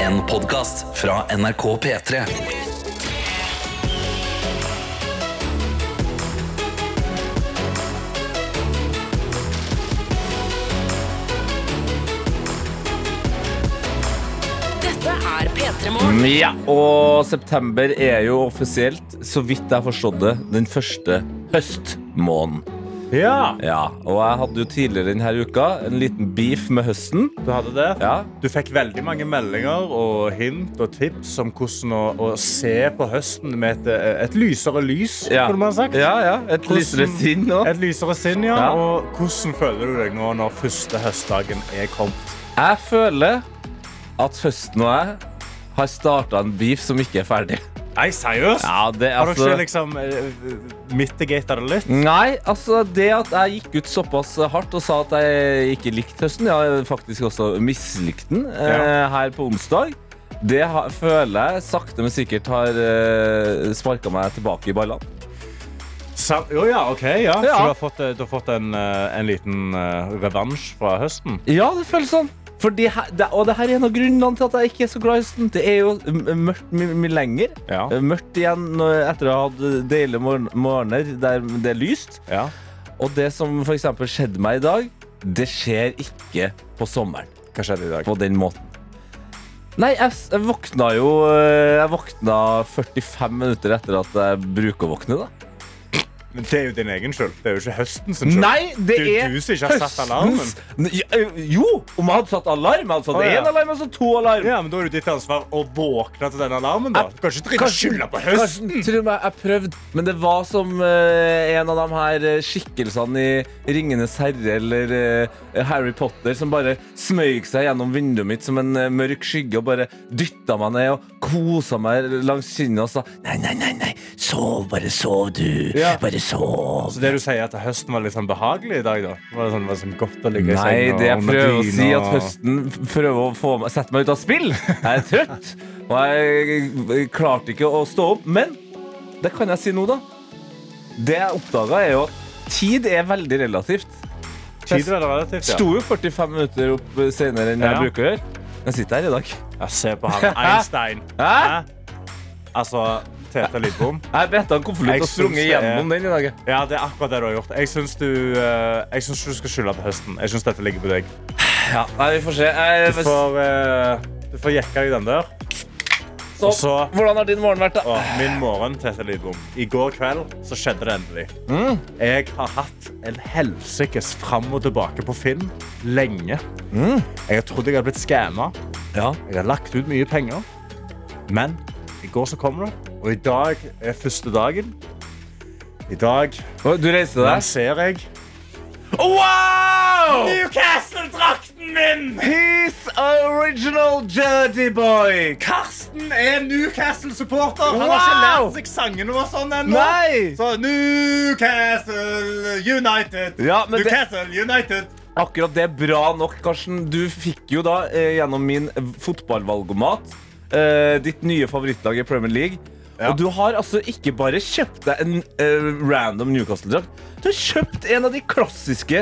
En podcast fra NRK P3 Dette er P3 Morgen. Ja, og september er jo offisielt, så vidt jeg har forstått det, den første høstmåneden. Ja, Ja, og jeg hadde jo tidligere denne uka en liten beef med høsten. du hadde det. Ja, Du fikk veldig mange meldinger og hint og tips om hvordan å, å se på høsten med et, eh, et lysere lys, ja. kunne man sagt. Ja, ja, et Hvordan- lysere sinn nå. Et lysere sinn, ja. Ja. Og hvordan føler du deg nå når første høstdagen er kommet? Jeg føler at høsten og jeg har startet en beef som ikke er ferdig. Nei, seriøst? Ja, det er Har du altså... ikke liksom eh, mitigata det litt? Nei, altså det at jeg gikk ut såpass hardt og sa at jeg ikke likte høsten, jeg har faktisk også mislikt den eh, Ja. her på onsdag, det har, føler jeg sakte men sikkert har eh, sparka meg tilbake i ballene. Sa- Jo, ja, ok, ja. Så Ja. du har fått, eh, du har fått en, eh, en liten eh, revansj fra høsten? Ja, det føles sånn. Fordi her, det, og det her er en av grunnene til at jeg ikke er så glad i høsten. Det er jo m- mørkt mye mye lenger. Eh, Ja. Mørkt igjen når, etter å ha hatt deilige morgen- morgener der det er lyst. ja. Og det som f.eks. skjedde meg i dag, det skjer ikke på sommeren. Hva skjedde i dag? på den måten. Nei, jeg, s- jeg våkna jo eh, Jeg våkna 45 minutter etter at jeg bruker å våkne, da. Men det er jo din egen skyld. Det er jo ikke høsten sin skyld. Nei, det Det er er du som ikke har satt høstens- N- ja, eh, Jo, om jeg hadde satt alarm. Jeg hadde satt Å, ja. én alarm, og så to alarm. Ja, men Da er det ditt ansvar å våkne til den alarmen. da. Du kan ikke drive og skylde på høsten. Kanskje, tror jeg, jeg prøvde, men det var som eh, en av de her eh, skikkelsene i Ringenes herre eller eh, Harry Potter som bare smøg seg gjennom vinduet mitt som en eh, mørk skygge og bare dytta meg ned og kosa meg langs kinnet og sa nei, nei, nei, nei, sov, bare sov du, Ja. bare sov. Så det du sier at høsten var litt sånn behagelig i dag, da? Var det sånn, var det sånn godt å ligge Nei, i senga det jeg under prøver å dyna si, at og- høsten f- prøver å få meg, sette meg ut av spill. Jeg er trøtt, og jeg, jeg klarte ikke å stå opp. Men det kan jeg si nå, da. Det jeg oppdaga, er jo at tid er veldig relativt. Tid var det relativt, ja. Sto jo 45 minutter opp senere enn jeg Ja. bruker å gjøre. Jeg sitter her i dag. Ja, se på han. Einstein. Hæ? Hæ? Altså Tete Lidbom. Jeg bretta en Jeg konvolutt og synes sprunget det er- gjennom den i dag. jeg. Ja, det er akkurat det du har gjort. Jeg syns du, eh, jeg syns ikke du skal skylde på høsten. Jeg syns dette ligger på deg. Ja, nei, vi får se. Jeg, Du får, eh, du får jekka deg den der. så, så- hvordan har din morgen vært, da? Og min morgen, Tete Lidbom. I går kveld så skjedde det endelig. Jeg har hatt en helsikes fram og tilbake på Finn lenge. Jeg har trodd jeg hadde blitt skamma. Ja. Jeg har lagt ut mye penger. Men i går så kom det, og i dag er første dagen. I dag Å, Du reiste deg? lanserer jeg Wow! Newcastle-drakten min! He's original dirty boy. Karsten er Newcastle-supporter. Han har ikke Wow! lært seg sangene våre sånn ennå. Nei! Så Newcastle United. Ja, men det- Newcastle United. Akkurat det er bra nok, Karsten. Du fikk jo da eh, gjennom min fotballvalgomat eh, ditt nye favorittlag i Premier League. Ja. Og du har altså ikke bare kjøpt deg en eh, random Newcastle-drakt. Du har kjøpt en av de klassiske,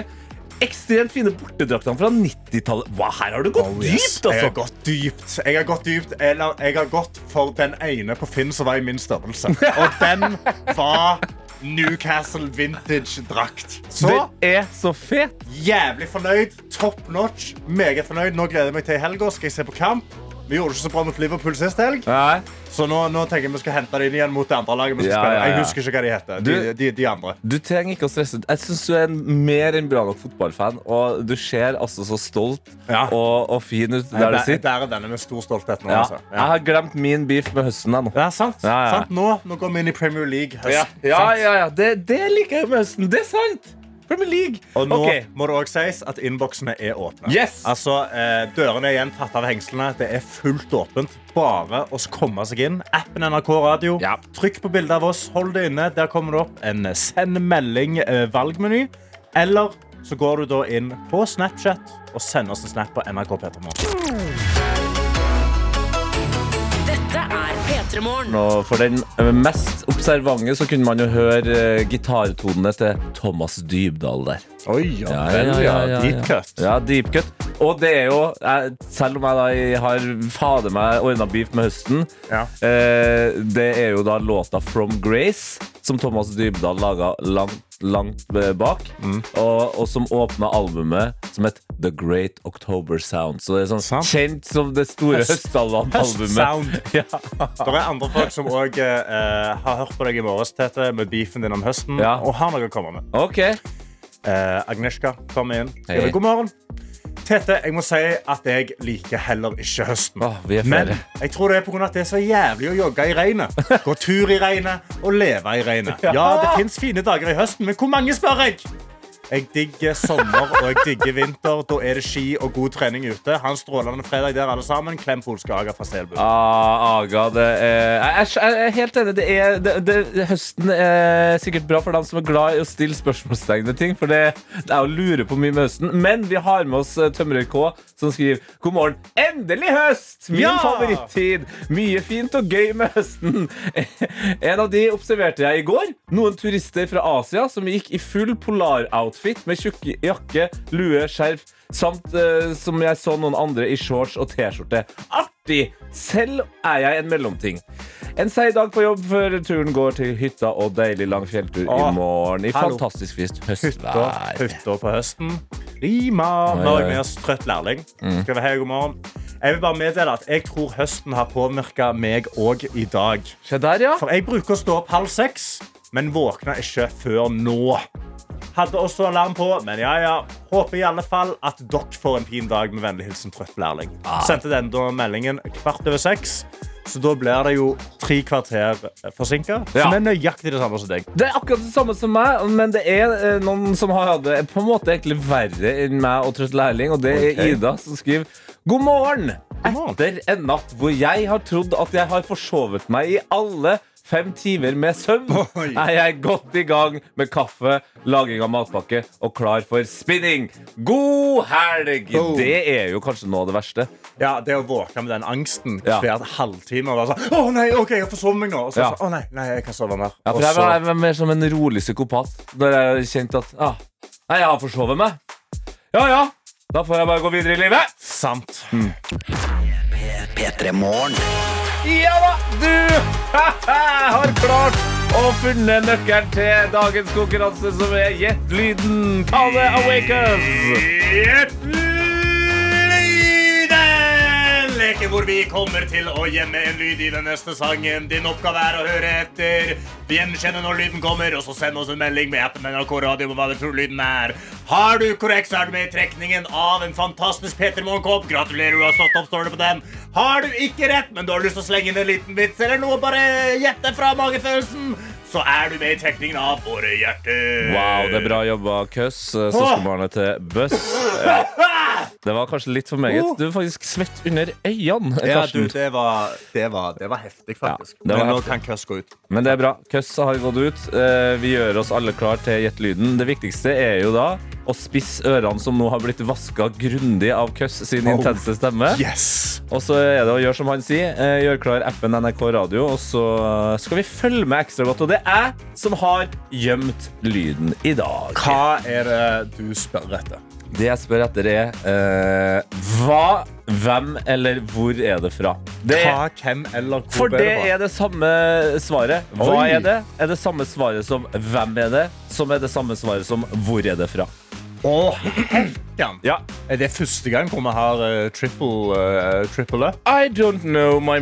ekstremt fine bortedraktene fra 90-tallet. Hva, Her har du gått Oh, yes. dypt, Jeg har altså! gått dypt. Jeg har gått dypt Eller jeg har gått for den ene på Finn som var i min størrelse. Og den var Newcastle vintage-drakt. Så Den er så fet. jævlig fornøyd. Top notch. Meget fornøyd. Nå gleder jeg meg til i helga. Skal jeg se på kamp? Vi gjorde det ikke så bra mot Liverpool sist helg, Nei. så nå, nå tenker jeg vi skal hente det inn igjen mot det andre laget. vi skal Ja, spille. ja, ja. Jeg husker ikke hva de heter. De, Du- de, de andre. Du trenger ikke å stresse. Jeg syns du er en mer enn bra nok fotballfan. Og du ser altså så stolt Ja. og, og fin ut der du Der- sitter. der er denne med stor stolthet nå. Ja. Altså. Jeg har glemt min beef med høsten ennå. Ja, sant. Ja, ja. sant. Nå, nå går vi inn i Premier League høst. Ja, ja, sant? ja, ja. Det, det liker jeg med høsten. Det er sant! Premier League. Og nå Ok. må det også sies at innboksene er åpne. Yes! Altså, eh, Dørene er igjen tatt av hengslene. Det er fullt åpent. Bare å komme seg inn. Appen NRK Radio. Ja. Trykk på bildet av oss. Hold det inne. Der kommer det opp en send melding-valgmeny. Eller så går du da inn på Snapchat og sender oss en snap på NRK Petermorgen. Dette er P3 Petremorgen. Og for den eh, mest observante så kunne man jo høre eh, gitartonene til Thomas Dybdahl der. Oi, ja, vel, ja. Deep cut. Ja, deep cut. Og det er jo, jeg, selv om jeg da jeg har fader meg ordna beef med høsten, Ja. eh, det er jo da låta From Grace, som Thomas Dybdahl laga langt, langt eh, bak, Mm. og, og som åpna albumet som het The Great October Sound. Så det er sånn Sant. kjent som det store Høst- høstalbumet. Sound. Ja. Det er andre folk som òg har hørt på deg i morges Tete, med beefen din om høsten Ja. og har noe å komme med. OK. Eh, Agnieszka, kom inn. Hei. Skriver, God morgen. Tete, jeg må si at jeg liker heller ikke høsten. Åh, vi er Men flere. jeg tror det er pga. at det er så jævlig å jogge i regnet. Gå tur i regnet og leve i regnet. Ja, det fins fine dager i høsten, men hvor mange, spør jeg? Jeg digger sommer og jeg digger vinter. Da er det ski og god trening ute. Ha en strålende fredag der, alle sammen. Klem polske Aga fra Selbu. Ah, Aga, det er, jeg, er, jeg er helt enig. Det er, det, det, høsten er sikkert bra for dem som er glad i å stille spørsmålstegn ved ting. For det, det er å lure på mye med høsten. Men vi har med oss eh, Tømrer K, som skriver God morgen. Endelig høst! Min Ja! favorittid. Mye fint og gøy med høsten. En av de observerte jeg i går. Noen turister fra Asia som gikk i full polaroutfit med tjukk jakke, lue, skjerf samt eh, som jeg så noen andre i shorts og T-skjorte. Artig! Selv er jeg en mellomting. En seig dag på jobb før turen går til hytta og deilig lang fjelltur Åh, i morgen. I hallo. fantastisk friskt Hytta, høstvær. hytta på høsten. Rima. ja, Vi har Mm. ja. med oss trøtt lærling. Skal vi hei, god morgen. Jeg vil bare meddele at jeg tror høsten har påvirka meg òg i dag. Se der, ja. For jeg bruker å stå opp halv seks, men våkna ikke før nå. Hadde også alarm på, men ja, ja. Håper i alle fall at dere får en fin dag med vennlig hilsen trøtt lærling. Sendte den da meldingen kvart over seks, så da blir det jo tre kvarter forsinka. Ja. Som er nøyaktig det samme som deg. Det er akkurat det samme som meg, men det er eh, noen som har hatt det på en måte egentlig verre enn meg og trøtt lærling, og det Ok. er Ida som skriver God morgen! God morgen. Etter en natt hvor jeg har trodd at jeg har forsovet meg i alle fem timer med søvn, Oi. er jeg godt i gang med kaffe, laging av matpakke og klar for spinning. God helg! Boom. Det er jo kanskje noe av det verste. Ja, Det å våkne med den angsten Ja. hver halvtime og være sånn Å nei, ok, jeg har forsovet meg nå. Og så, Ja. sånn, å nei, nei, jeg kan sove mer. Ja, for Og jeg så- var, jeg var mer som en rolig psykopat Når jeg kjente at ah, Nei, jeg har forsovet meg Ja, ja, da får jeg bare gå videre i livet Sant. Mm. P3 Morgen. Ja da, du har klart å funne nøkkelen til dagens konkurranse Som er Gjett lyden Ta det Awake Us Lyden! Leke hvor vi kommer til å gjemme en lyd i den neste sangen. Din oppgave er å høre etter. Gjenkjenne når lyden kommer, og så send oss en melding med appen NRK Radio om hva du tror lyden er. Har du korrekt, så er du med i trekningen av en fantastisk Peter Moen-kopp. Gratulerer, du har stått opp, står det på den. Har du ikke rett, men du har lyst til å slenge inn en liten vits eller noe, bare gjette fra magefølelsen, så er du med i trekningen av våre hjerter. Wow, det er bra jobba, Køss eh, Søskenbarnet til Bøss Ja. Det var kanskje litt for meget Du er faktisk svett under øynene Ja, Karsten. du, det var, det var, det var heftig, faktisk. Ja, det var Men nå heftig. kan Køss gå ut. Men det er bra. Køss har gått ut. Eh, Vi gjør oss alle klar til Gjett lyden. Det viktigste er jo da å spisse ørene som nå har blitt vaska grundig av Køss sin Oh. intense stemme. Yes! Og så er det å gjøre som han sier. eh, Gjør klar appen NRK Radio, og så skal vi følge med ekstra godt. Og det er jeg som har gjemt lyden i dag. Hva er det du spør etter? Det jeg spør etter, er eh, hva, hvem eller hvor er det fra? Det Hva, hvem eller hvor For ble det fra? er det samme svaret. Hva Oi. er det? Er det samme svaret som hvem er det? Som er det samme svaret som hvor er det fra? Å, helken! Ja. Er det første gang hvor vi har eh, triple, eh, triple up? I don't know. My,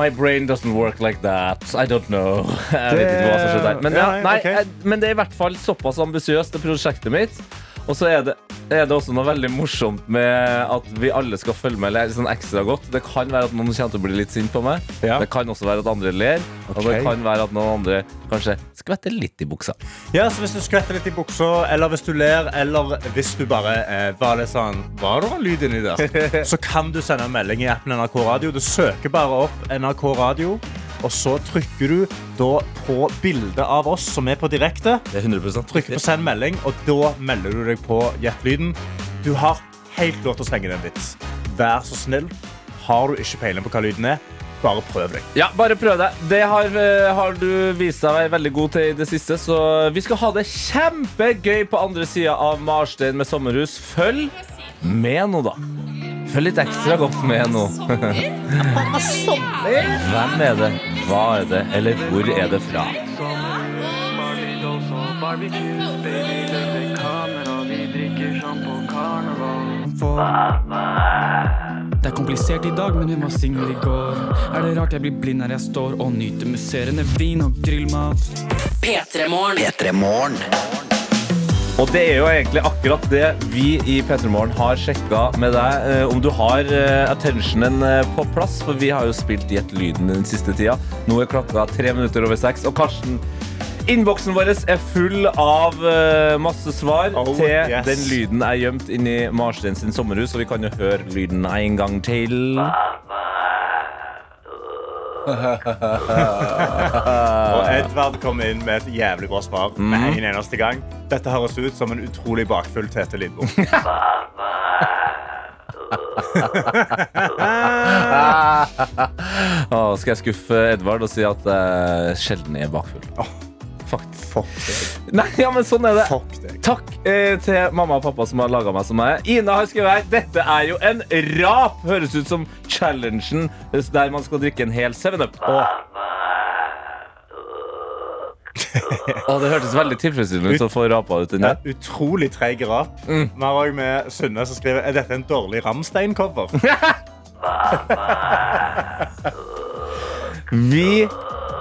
my brain doesn't work like that. I don't know. Jeg vet ikke hva som skjedde der. Men, ja, Ja, nei, ok. jeg, men det er i hvert fall såpass ambisiøst, det prosjektet mitt. Og så er det, er det også noe veldig morsomt med at vi alle skal følge med eller sånn ekstra godt. Det kan være at noen kommer til å bli litt sint på meg. Ja. Det kan også være at andre ler. Og det Ok. kan være at noen andre kanskje skvetter litt i buksa. Ja, så Hvis du skvetter litt i buksa, eller hvis du ler, eller hvis du bare eh, var litt sånn Var det noe lyd inni der? Så kan du sende en melding i appen NRK Radio. Du søker bare opp NRK Radio, og så trykker du da på bildet av oss som er på direkte. Det er 100 Trykker på send melding, og da melder du deg på Gjett lyden. Du har helt lov til å slenge den vits. Vær så snill. Har du ikke peiling på hva lyden er, Bare prøv deg. Ja, bare prøv deg. Det har, eh, har du vist deg å være veldig god til i det siste, så vi skal ha det kjempegøy på andre sida av Marstein med sommerhus. Følg med nå, da. Følg litt ekstra godt med nå. Hvem er det? Hva er det? Eller hvor er det fra? Barbie dolls og barbecues, babyløse kamera, vi drikker sjampo karneval. Det er komplisert i dag, men hun var singel i går. Er det rart jeg blir blind her jeg står og nyter musserende vin og grillmat? P3-morgen. Og det er jo egentlig akkurat det vi i P3 Morgen har sjekka med deg. eh, om du har eh, attentionen eh, på plass, for vi har jo spilt Gjett lyden den siste tida. Nå er klokka tre minutter over seks, og Karsten Innboksen vår er full av eh, masse svar Oh, til yes. den lyden er gjemt inni Marstein sin sommerhus, og vi kan jo høre lyden en gang til. Ah. Og Edvard kom inn med et jævlig bra svar med en eneste gang. Dette høres ut som en utrolig bakfull Tete Lidbom. Ah, skal jeg skuffe Edvard og si at jeg sjelden er bakfull? Fuck, fuck deg. Nei, ja, men sånn er det. Fuck deg. Takk eh, til mamma og pappa som har laga meg som jeg er. Ina har skrevet her dette er jo en rap. Høres ut som challengen eh, der man skal drikke en hel 7-Up. Å, Å, det hørtes veldig tilfredsstillende ut å få rapa ut den Ja, der. utrolig treig rap. Vi har òg med Synne som skriver Er dette en dårlig Ramstein-cover. Vi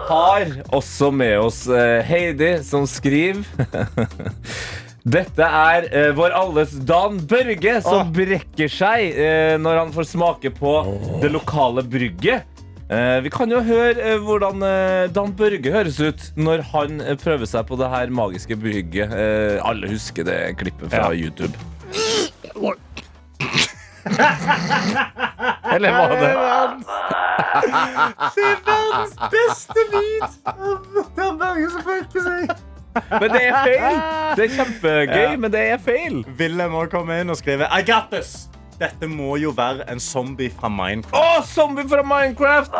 har også med oss eh, Heidi, som skriver Dette er eh, vår alles Dan Børge, som Åh. brekker seg eh, når han får smake på det lokale brygget. Eh, vi kan jo høre eh, hvordan eh, Dan Børge høres ut når han eh, prøver seg på det her magiske brygget. Eh, alle husker det klippet fra YouTube. Eller var det Beste lyd! Det er Børge som fikk seg. Men det er feil! Det er kjempegøy, men det er feil. Willem òg komme inn og skrive I got this! Dette må jo være en zombie fra Minecraft. Å, zombie fra Minecraft!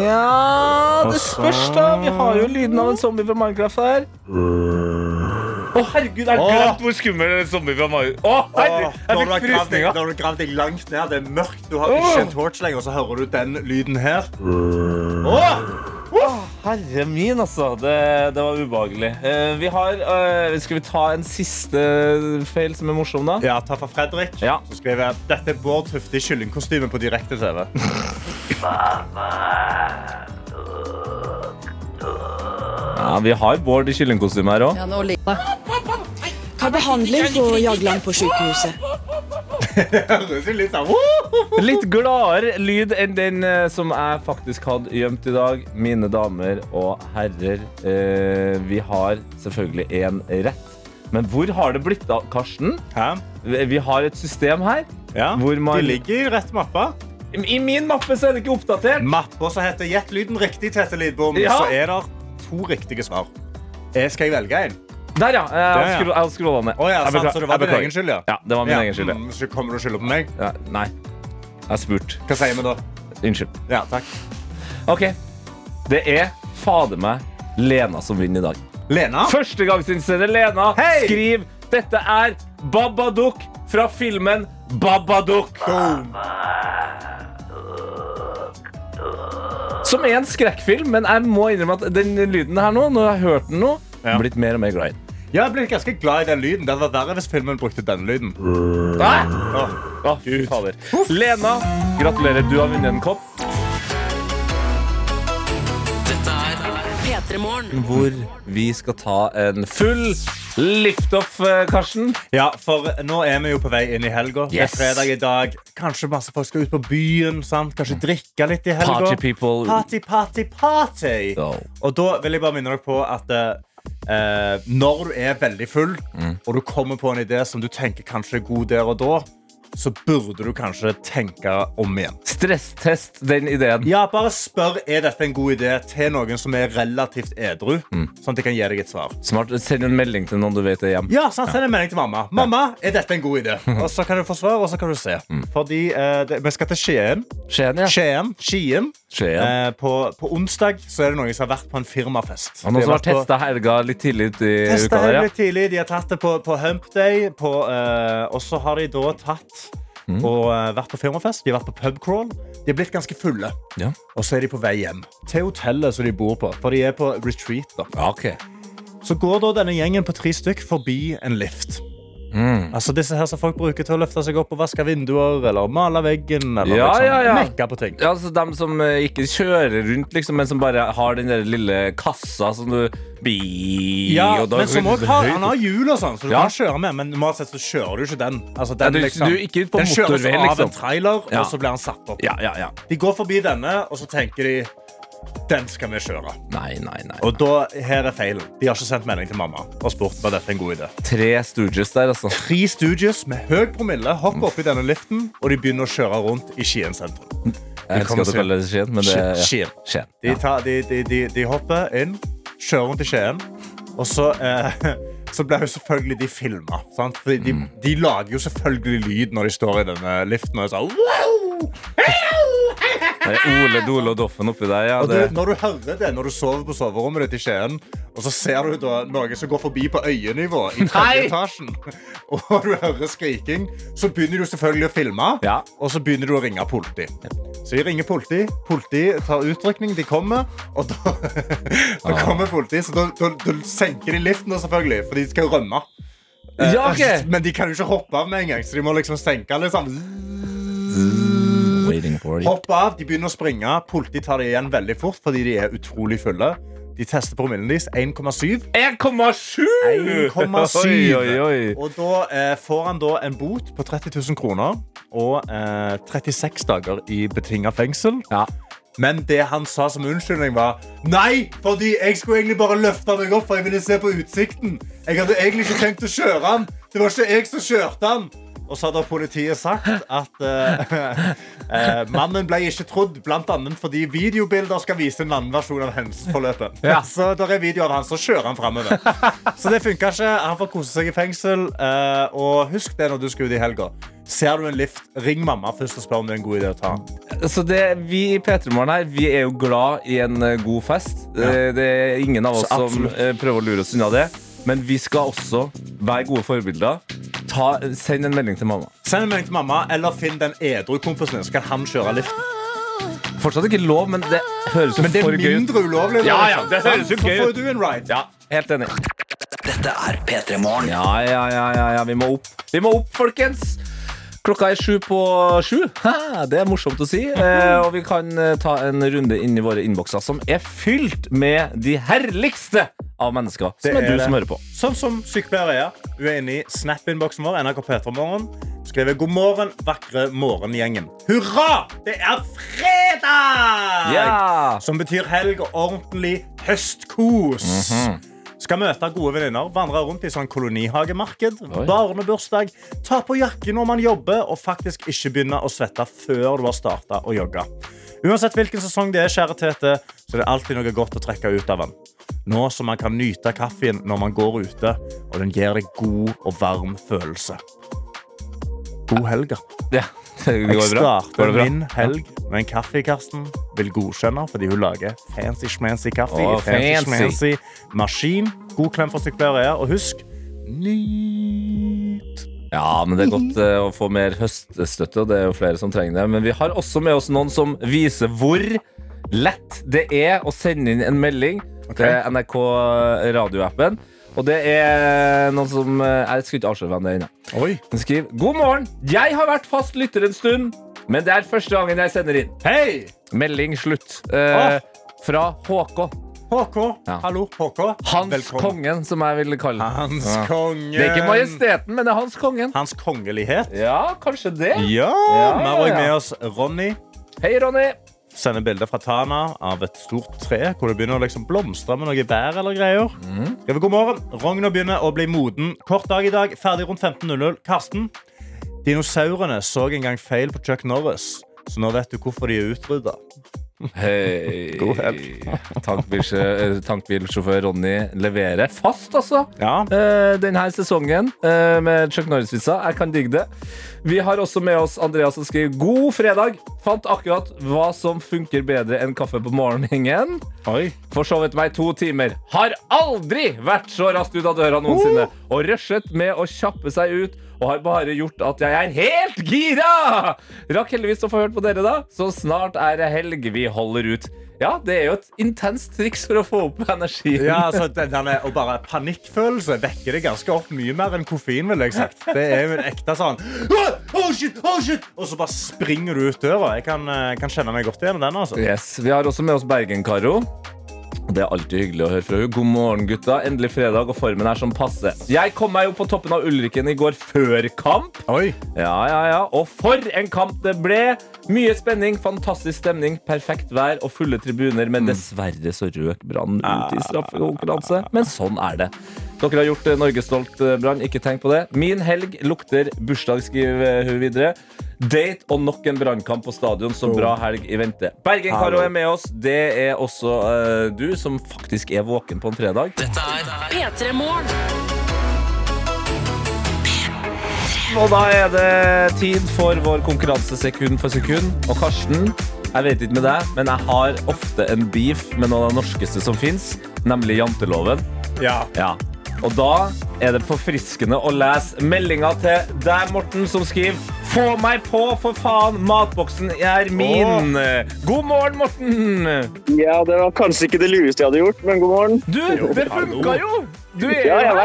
Ja Det spørs, da. Vi har jo lyden av en zombie fra Minecraft her. Å, herregud, jeg Åh. glemte hvor skummel en zombie fra Minecraft Å, herregud, jeg fikk frysninger. Når du har gravd deg langt ned, det er mørkt, du har ikke en torch lenger, så hører du den lyden her. Åh! Herre min, altså. Det, det var ubehagelig. Eh, vi har eh, Skal vi ta en siste feil som er morsom, da? Ja, ta fra Fredrik. Ja. Så skriver jeg Dette er Bård Tufte i kyllingkostyme på direkte-TV. ja vi har Bård i kyllingkostyme her òg. Har behandling på Jagland på sykehuset. Høres jo litt sånn «Woo!» Litt gladere lyd enn den eh, som jeg faktisk hadde gjemt i dag. Mine damer og herrer, eh, vi har selvfølgelig én rett. Men hvor har det blitt av, Karsten? Hæ? Vi vi har et system her. Ja, Hvor man- De ligger i rett mappe. I min mappe så er det ikke oppdatert. Mappa som heter Gjett lyden riktig, Tete Lidbom, Ja. så er det to riktige svar. Jeg skal jeg velge en? Der, ja. Jeg Der, ja. har skro- jeg har scrolla ned. Å ja, Jeg sant, beklager- så det var jeg din beklager. egen skyld, ja. Ja, det var min Ja, egen skyld. ja. mm, Så kommer du og skylder på meg? Ja, nei. Jeg spurte. Hva sier vi da? Unnskyld. Ja, takk. OK. Det er fader meg Lena som vinner i dag. Lena? Førstegangsinnsender Lena Hei! skriv Dette er Babadook fra filmen Babadook Boom. Som er en skrekkfilm, men jeg må innrømme at den lyden her nå Når jeg har hørt den nå, jeg Ja. har blitt mer og mer glad i den Jeg er blitt ganske glad i den lyden. Det hadde vært verre hvis filmen brukte den lyden. Hæ? Åh, Å, fy fader Lena, gratulerer, du har vunnet en kopp Dette er P3-morgen. Hvor vi skal ta en full lift-off, eh, Karsten Ja, for nå er vi jo på vei inn i helga. Yes. Det er fredag i dag. Kanskje masse folk skal ut på byen. sant? Kanskje drikke litt i helga. Party people. Party, party, party. Go. Og da vil jeg bare minne dere på at eh, Mm. når du er veldig full, og du kommer på en idé som du tenker kanskje er god der og da, så burde du kanskje tenke om igjen. Stresstest den ideen. Ja, bare spør er dette en god idé til noen som er relativt edru. Mm. Sånn at de kan gi deg et svar. Smart. Send en melding til noen du vet er hjemme. Ja, sant, Send en melding til mamma. Mamma, er dette en god idé? Og så kan du få svar, og så kan du se. Fordi eh, det, Vi skal til Skien. Skien, Mm. ja. Skien, Skien. Skien. Eh, på, på onsdag så er det noen som har vært på en firmafest. Han har De også vært vært på- testa helga litt tidlig ut i Testa uka. her Der, ja. litt tidlig. De har tatt det på, på Hump Day. På, eh, og så har de da tatt Mm. og eh, vært på firmafest. De har vært på pubcrawl. De er blitt ganske fulle. Ja. Og så er de på vei hjem til hotellet som de bor på. For de er på retreat. da Ja, ok. Så går da denne gjengen på tre stykk forbi en lift. Mm. Altså disse her som folk bruker til å løfte seg opp og vaske vinduer eller male veggen. Eller Ja, liksom, ja, ja. mekke på ting. Ja, altså dem som eh, ikke kjører rundt, liksom, men som bare har den der lille kassa som du bi, Ja, og da- men som også har, han har hjul og sånn, så du Ja. kan kjøre med. Men normalt sett så kjører du ikke den. Altså, Ja, den, du- liksom, du er ikke på den kjøres motorvei, av liksom. en trailer, Ja. og så blir han satt opp. ja, ja, ja. De går forbi denne, og så tenker de den skal vi kjøre. Nei, nei, nei. Og da, her er feilen. De har ikke sendt melding til mamma og spurt var dette en god idé. tre Stooges der, altså. Tre Stooges med høy promille hopper opp i denne liften, og de begynner å kjøre rundt i Skien sentrum. Jeg elsker kommer at du til- kaller det Skien, men det ja. Skien. Skien. De, Ja. tar, de, de, de, de hopper inn, kjører rundt i Skien, og så eh, så ble jo selvfølgelig de filma. De, de, de lager jo selvfølgelig lyd når de står i denne liften. Og, er sånn, wow! Det er Ole, Dole og Doffen oppi der, ja. og Det, du, når du hører det når du sover på soverommet ditt i Skien, og så ser du da noe som går forbi på øyenivå i tredje etasjen, og du hører skriking, så begynner du selvfølgelig å filme, Ja. og så begynner du å ringe politi. Så de ringer politi, politi tar utrykning, de kommer, og da, da Ah. kommer politi, så da, da, da senker de liften da selvfølgelig, for de skal rømme. Eh, ja, ok! Men de kan jo ikke hoppe av med en gang, så de må liksom senke liksom. Waiting for it. Hopp av, de begynner å springe. Politiet tar det igjen veldig fort fordi de er utrolig fulle. De tester promillen deres. 1,7. 1,7! 1,7. Oi, oi, oi. Og da eh, får han da en bot på 30 000 kroner og eh, 36 dager i betinga fengsel. Ja. Men det han sa som unnskyldning, var Nei, fordi jeg skulle egentlig bare løfte meg opp, for jeg ville se på utsikten. Jeg hadde egentlig ikke tenkt å kjøre han. Det var ikke jeg som kjørte han. Og så hadde politiet sagt at eh, eh, mannen ble ikke trodd, bl.a. fordi videobilder skal vise en annen versjon av hendelsesforløpet. Ja. Så der er video av han, så kjører han framover. Så det funka ikke. Han får kose seg i fengsel. eh, og husk det når du skal ut i helga. Ser du en lift, ring mamma først og spør om det er en god idé å ta den. Så det, vi i P3morgen her, vi er jo glad i en eh, god fest. Eh, Det er ingen av oss Så som absolutt. eh, prøver å lure oss unna det. Men vi skal også være gode forbilder. Ta, send en melding til mamma. Send en melding til mamma, eller finn den edru kompisen din, så kan han kjøre liften. Fortsatt ikke lov, men det høres jo for gøy ut. ulovlig. Ja, ja, det høres jo gøy Så får ut. du en ride. Ja, helt enig. Dette er P3 Morgen. Ja, ja, ja, ja, ja, vi må opp. Vi må opp, folkens! Klokka er sju på sju. Hæ, det er morsomt å si. Eh, og vi kan eh, ta en runde inn i våre innbokser, som er fylt med de herligste av mennesker. Som Det er, er du det. som hører på. Sånn som sykepleiere er. Hun er inne i Snap-innboksen vår. NRK Petermorgen skriver 'God morgen, vakre morgengjengen'. Hurra! Det er fredag! Ja! Som betyr helg og ordentlig høstkos. Mhm. Skal møte gode venninner, vandre rundt i sånn kolonihagemarked, Oi. barnebursdag, ta på jakken når man jobber, og faktisk ikke begynne å svette før du har starta å jogge. Uansett hvilken sesong det er, kjære Tete, så er det alltid noe godt å trekke ut av den. Nå som man kan nyte kaffen når man går ute, og den gir deg god og varm følelse. God helg. da. Ja, det Jeg går bra. Går starter det bra? min helg med en kaffe Karsten vil godkjenne fordi hun lager fancy-schmancy kaffe Åh, i fancy. fancy-schmancy maskin. God klem for sykepleiere. ja. Og husk nyt. Ja, men det er godt eh, å få mer høststøtte, og det er jo flere som trenger det. Men vi har også med oss noen som viser hvor lett det er å sende inn en melding til NRK radioappen. Og det er noen som eh, Jeg skal ikke avsløre hvem det er ennå. Oi. Den skriver God morgen. Jeg har vært fast lytter en stund, men det er første gangen jeg sender inn. Hei! Melding slutt. Eh, Åh. Fra HK. HK. Ja. Hallo, HK. Hans Velkommen. Kongen, som jeg ville kalle den. Hans Ja. kongen. Det er ikke Majesteten, men det er Hans Kongen. Hans kongelighet. Ja, kanskje det. Ja! Ja, Vi ja, har også ja. med oss Ronny. Hei, Ronny. Sender bilder fra Tana av et stort tre hvor det begynner å liksom blomstre med noe bær. eller greier. Skriver, God morgen. Rogna begynner å bli moden. Kort dag i dag. Ferdig rundt 15.00. Karsten, Dinosaurene så en gang feil på Chuck Norris, så nå vet du hvorfor de er utrydda. Hei. God helg. Tankbilsjø- eh, Tankbilsjåfør Ronny leverer fast, altså. Ja. Eh, denne sesongen eh, med Chuck Norris-vitsa. Jeg kan digge det. Vi har også med oss Andreas som skriver God fredag. Fant akkurat hva som funker bedre enn kaffe på morgenen. Oi. Forsovet meg to timer. Har aldri vært så raskt ut av døra noensinne. Og rushet med å kjappe seg ut. Og har bare gjort at jeg er helt gira! Rakk heldigvis å få hørt på dere, da. Så snart er det helg. Vi holder ut. Ja, det er jo et intenst triks for å få opp energien. Ja, altså, den, den er, og bare panikkfølelse vekker det ganske opp mye mer enn koffein, vil jeg sagt. Det er jo en ekte sånn «Åh, oh shit, oh shit! Og så bare springer du ut døra. Jeg kan, eh, kan kjenne meg godt igjen i den. altså. Yes, Vi har også med oss Bergen-Karo. Det er alltid hyggelig å høre fra henne. God morgen, gutta. Endelig fredag, og formen er som passe. Jeg kom meg jo på toppen av Ulriken i går før kamp. Oi. Ja, ja, ja. Og for en kamp det ble! Mye spenning, fantastisk stemning, perfekt vær og fulle tribuner. Men dessverre så røk Brann ut i straffekonkurranse. Men sånn er det. Dere har gjort eh, Norge stolt, eh, Brann. Ikke tenk på det. Min helg lukter bursdag, skriver hun videre. Date og nok en brannkamp på stadion, så bra helg i vente. Bergen-Karo er med oss. Det er også eh, du, som faktisk er våken på en fredag. Dette er P3 Morgen. Og da er det tid for vår konkurranse sekund for sekund. Og Karsten, jeg vet ikke med deg, men jeg har ofte en beef med noe av det norskeste som fins, nemlig janteloven. Ja. Ja. Og da er det forfriskende å lese meldinga til deg, Morten, som skriver Få meg på, for faen! Matboksen er min! eh, God morgen, Morten! Ja, det var kanskje ikke det lureste jeg hadde gjort, men god morgen. Du, det funka jo! Du er Ja, jo jeg her!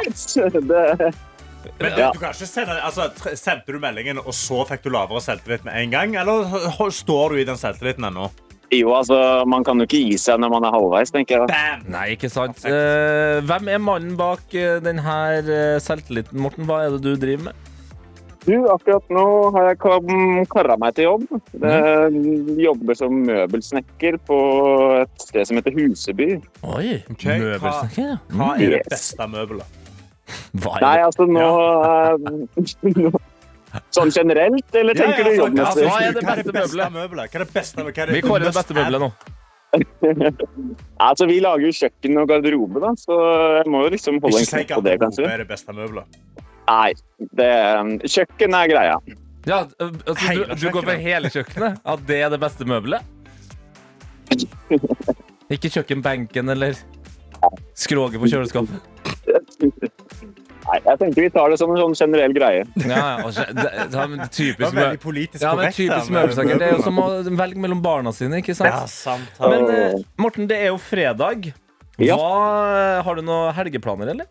veit. Det, Men du, du kan ikke sende, altså, tr- Sendte du meldingen, og så fikk du lavere selvtillit med en gang? Eller h- står du i den selvtilliten ennå? jo, altså, man kan jo ikke gi seg når man er halvveis, tenker jeg. Bam! Nei, ikke sant. Perfekt. Eh, hvem er mannen bak eh, den her eh, selvtilliten, Morten? Hva er det du driver med? Du, akkurat nå har jeg kom- karra meg til jobb. Det, Mm. Jobber som møbelsnekker på et sted som heter Huseby. Oi, Ok, møbelsnekker, ja. Hva er det Yes. beste møbelet? Hva Nei, er det? altså nå eh, Sånn generelt, eller Ja, tenker ja, du for- ja, jobbmessig? hva er det hva er det beste beste møbelet? møbelet? Hva er det beste møbelet? Hva er Vi kårer det must beste møbelet nå. Altså, vi lager jo kjøkken og garderobe, da, så jeg må jo liksom holde en Ikke si knapp på det, eh, garderobe kanskje. er det beste møbelet. Nei, det, kjøkken er greia. Ja, eh, altså, du, Hele du går for kjøkkenet. hele kjøkkenet? Ja, det er det beste møbelet? Ikke kjøkkenbenken eller skroget på kjøleskapet? Nei, jeg tenker vi tar det som en sånn generell greie. Ja, ja, og så- det, ja, men Det typisk var veldig mø- politisk ja, men korrekt. typisk møbelsnekker. Det er jo som å velge mellom barna sine, ikke sant? Ja, sant. Ja. Men eh, Morten, det er jo fredag. Ja. Hva, har du noen helgeplaner, eller?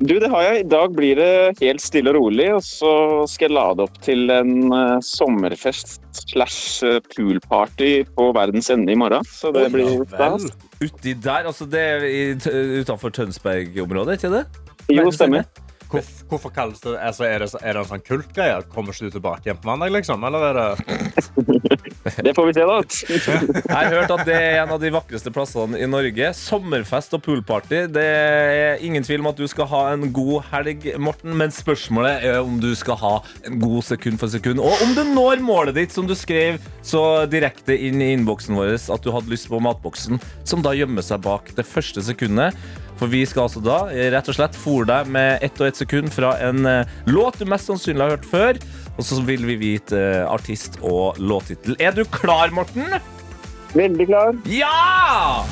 Du, det har jeg. I dag blir det helt stille og rolig, og så skal jeg lade opp til en eh, sommerfest slash eh, poolparty på verdens ende i morgen. Så det blir stas. Uti der? Altså, det er i t- utenfor Tønsberg-området, ikke det? Jo, Verdens stemmer. Hvorf, hvorfor kalles det altså, er, det så- er det en sånn kultgreie? Kommer ikke du tilbake igjen på mandag, liksom? Eller er det Det får vi se, da. Jeg har hørt at det er en av de vakreste plassene i Norge. Sommerfest og poolparty. Det er ingen tvil om at du skal ha en god helg, Morten, men spørsmålet er om du skal ha en god sekund for sekund, og om du når målet ditt, som du skrev så direkte inn i innboksen vår at du hadde lyst på matboksen, som da gjemmer seg bak det første sekundet. For vi skal altså da eh, rett og slett fôre deg med ett og ett sekund fra en eh, låt du mest sannsynlig har hørt før. Og så vil vi vite eh, artist og låttittel. Er du klar, Morten? Veldig klar. Ja!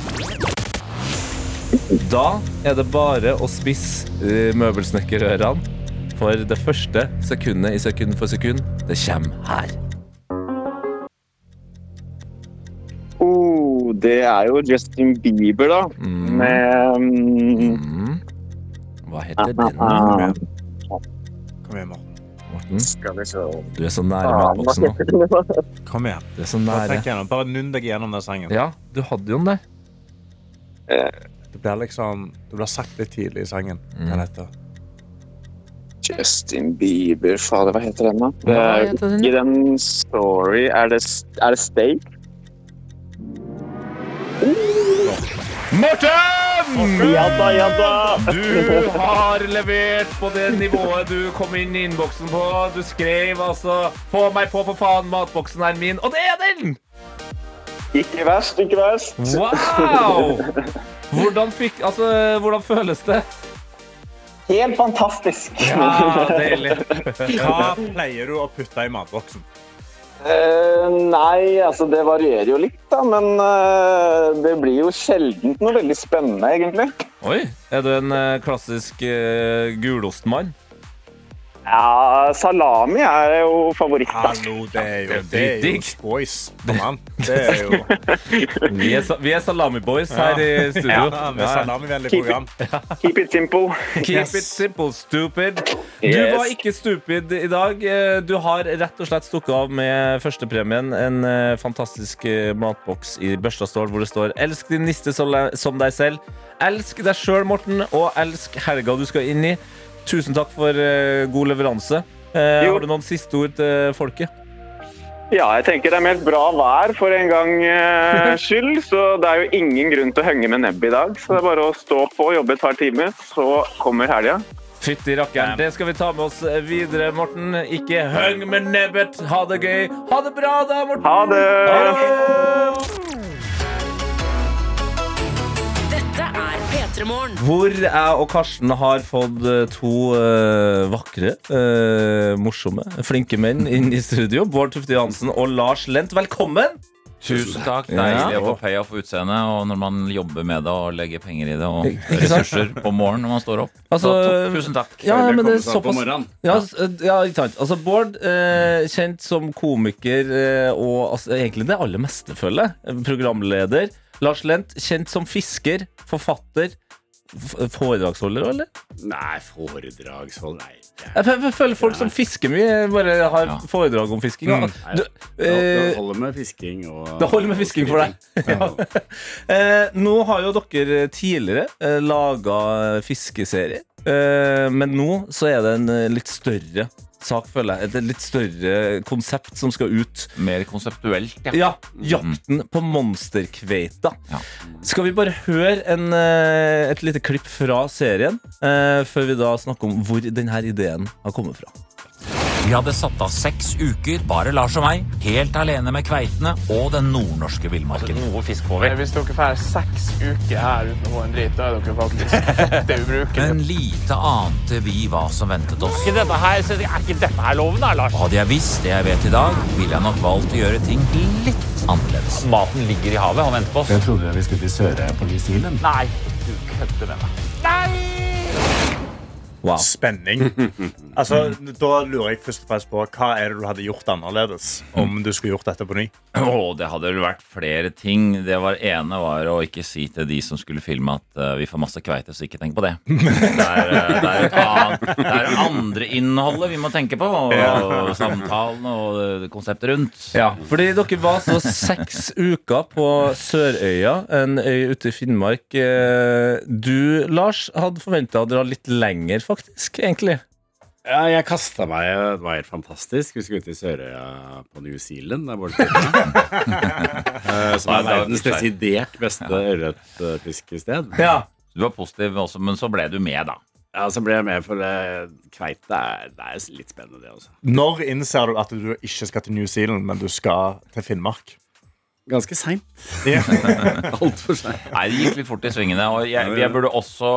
Da er det bare å spisse eh, møbelsnekkerørene. For det første sekundet i sekund for sekund, det kommer her. Oh, det er jo Justin Bieber, da. Med mm, Mm. Hva heter den? da? ah, Kom igjen, Morten. Morten, Skal vi se du er så nære Ah, hva matboksen nå. heter det da? Kom igjen. Du er så Bare, nære. tenk gjennom. Bare nunn deg gjennom den sangen. Ja, du hadde jo den der. Det blir liksom Det blir sagt litt tidlig i sangen. Mm. Hva den heter Justin Bieber, fader, hva heter den da? Det Hva er heter den? ikke den story, er det, er det steak? Morten! Ja da, ja da. Du har levert på det nivået du kom inn i innboksen på. Du skrev altså 'Få meg på, for faen, matboksen er min', og det er den! Ikke verst, ikke verst. Wow! Hvordan, fikk, altså, hvordan føles det? Helt fantastisk. Ja, deilig. Hva pleier du å putte i matboksen? Eh, nei, altså det varierer jo litt, da. Men eh, det blir jo sjelden noe veldig spennende, egentlig. Oi, er du en eh, klassisk eh, gulostmann? Ja, salami er jo favoritt. da. Hallo, det er jo det er jo boys. Kom an. Det er jo Vi er, sa- vi er salamiboys her i studio. ja, med salamivennlig program. Keep it simple. Keep it simple, stupid. Du Yes. var ikke stupid i dag. Eh, Du har rett og slett stukket av med førstepremien. En eh, fantastisk eh, matboks i Børstadstål hvor det står 'Elsk din niste så le- som deg selv'. Elsk deg sjøl, Morten, og elsk helga du skal inn i. Tusen takk for eh, god leveranse. Eh, Jo. Har du noen siste ord til folket? Ja, jeg tenker det er meldt bra vær for en gang eh, skyld, så det er jo ingen grunn til å henge med nebbet i dag. Så det er bare å stå på, jobbe et par timer, så kommer helga. Fytti rakkeren. Det skal vi ta med oss eh, videre, Morten. Ikke heng med nebbet. Ha det gøy. Ha det bra, da, Morten. Ha det! Ha det! Dette er P3 Morgen. Hvor jeg og Karsten har fått eh, to eh, vakre, eh, morsomme, flinke menn inn i studio. Bård Tufte Johansen og Lars Lent, velkommen! Tusen takk. Ja. Deilig å få payoff for utseendet. Og når man jobber med det og legger penger i det og Ikke sant? ressurser på morgenen når man står opp. Så, Altså- tusen takk. Ja, men det er seg opp om såpass morgenen. ja, s- ja, ikke sant. Altså, Bård, eh, kjent som komiker eh, og altså, egentlig det aller meste, føler jeg. Programleder. Lars Lent, kjent som fisker, forfatter, f foredragsholder òg, eller? Nei, foredragshold, nei. det Jeg, f- f- føler folk som fisker mye, bare har Ja. foredrag om fisking. Mm. Du, er- eh, Det holder med fisking og Det holder med fisking for deg. Ja. Eh, nå har jo dere tidligere eh, laga fiskeserier, eh, men nå så er det en eh, litt større sak, føler jeg. Et litt større konsept som skal ut. Mer konseptuelt, ja. Ja, Jakten på monsterkveita. Ja. Skal vi bare høre en, eh, et lite klipp fra serien, eh, før vi da snakker om hvor denne ideen har kommet fra? Vi hadde satt av seks uker, bare Lars og meg, helt alene med kveitene og den nordnorske villmarken. Altså, Hvis dere får seks uker her uten å få en drit, da er dere faktisk fette ubrukelige. Men lite ante vi hva som ventet oss. Dette her, er ikke dette her loven, da, Lars? Og hadde jeg visst det jeg vet i dag, ville jeg nok valgt å gjøre ting litt annerledes. Maten ligger i havet. Han venter på oss. Jeg trodde vi skulle til Søre på New Zealand. Nei, du kødder med meg. Wow. Spenning. Altså, da lurer jeg først og fremst på hva er det du hadde gjort annerledes om du skulle gjort dette på ny? Å, det hadde vel vært flere ting. Det var ene var å ikke si til de som skulle filme at eh, vi får masse kveite, så ikke tenk på det. Det er, eh, det er, et annet, det er andre innholdet vi må tenke på, og, og samtalen og eh, konseptet rundt. Ja, fordi dere var så seks uker på Sørøya, en øy ute i Finnmark. Eh, Du, Lars, hadde forventa å dra litt lenger, faktisk, egentlig. Ja, jeg kasta meg. Det var helt fantastisk. Vi skulle ut i Sørøya på New Zealand. Der borte. Eh, Som er verdens desidert beste ørretfiskested. Ja. Du var positiv også, men så ble du med, da. Ja, så ble jeg med, for det kveite er, det er litt spennende, det også. Når innser du at du ikke skal til New Zealand, men du skal til Finnmark? Ganske seint. Ja. Altfor seint. Nei, det gikk litt fort i svingene. Og jeg, jeg burde også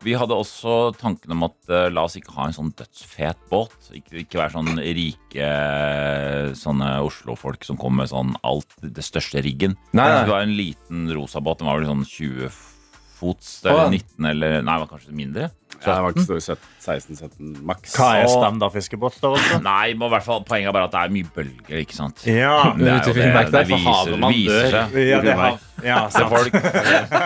vi hadde også tanken om at eh, la oss ikke ha en sånn dødsfet båt. Ikke, ikke være sånn rike eh, sånne Oslo-folk som kommer med sånn alt det største riggen. Nei, nei. Det skulle være en liten rosa båt. Den var vel sånn 20 fots Å, ja. eller 19 eller Nei, det var kanskje mindre. Ja, det var ikke stor 16-17 maks. Hva er Så- standard fiskebåtstørrelse? Nei, men i hvert fall poenget er bare at det er mye bølger, ikke sant. Ja. Det Ute er i jo det, Finnmark der, det for viser, havet man viser dør. seg. Ja, det har, ja, Til sant. folk,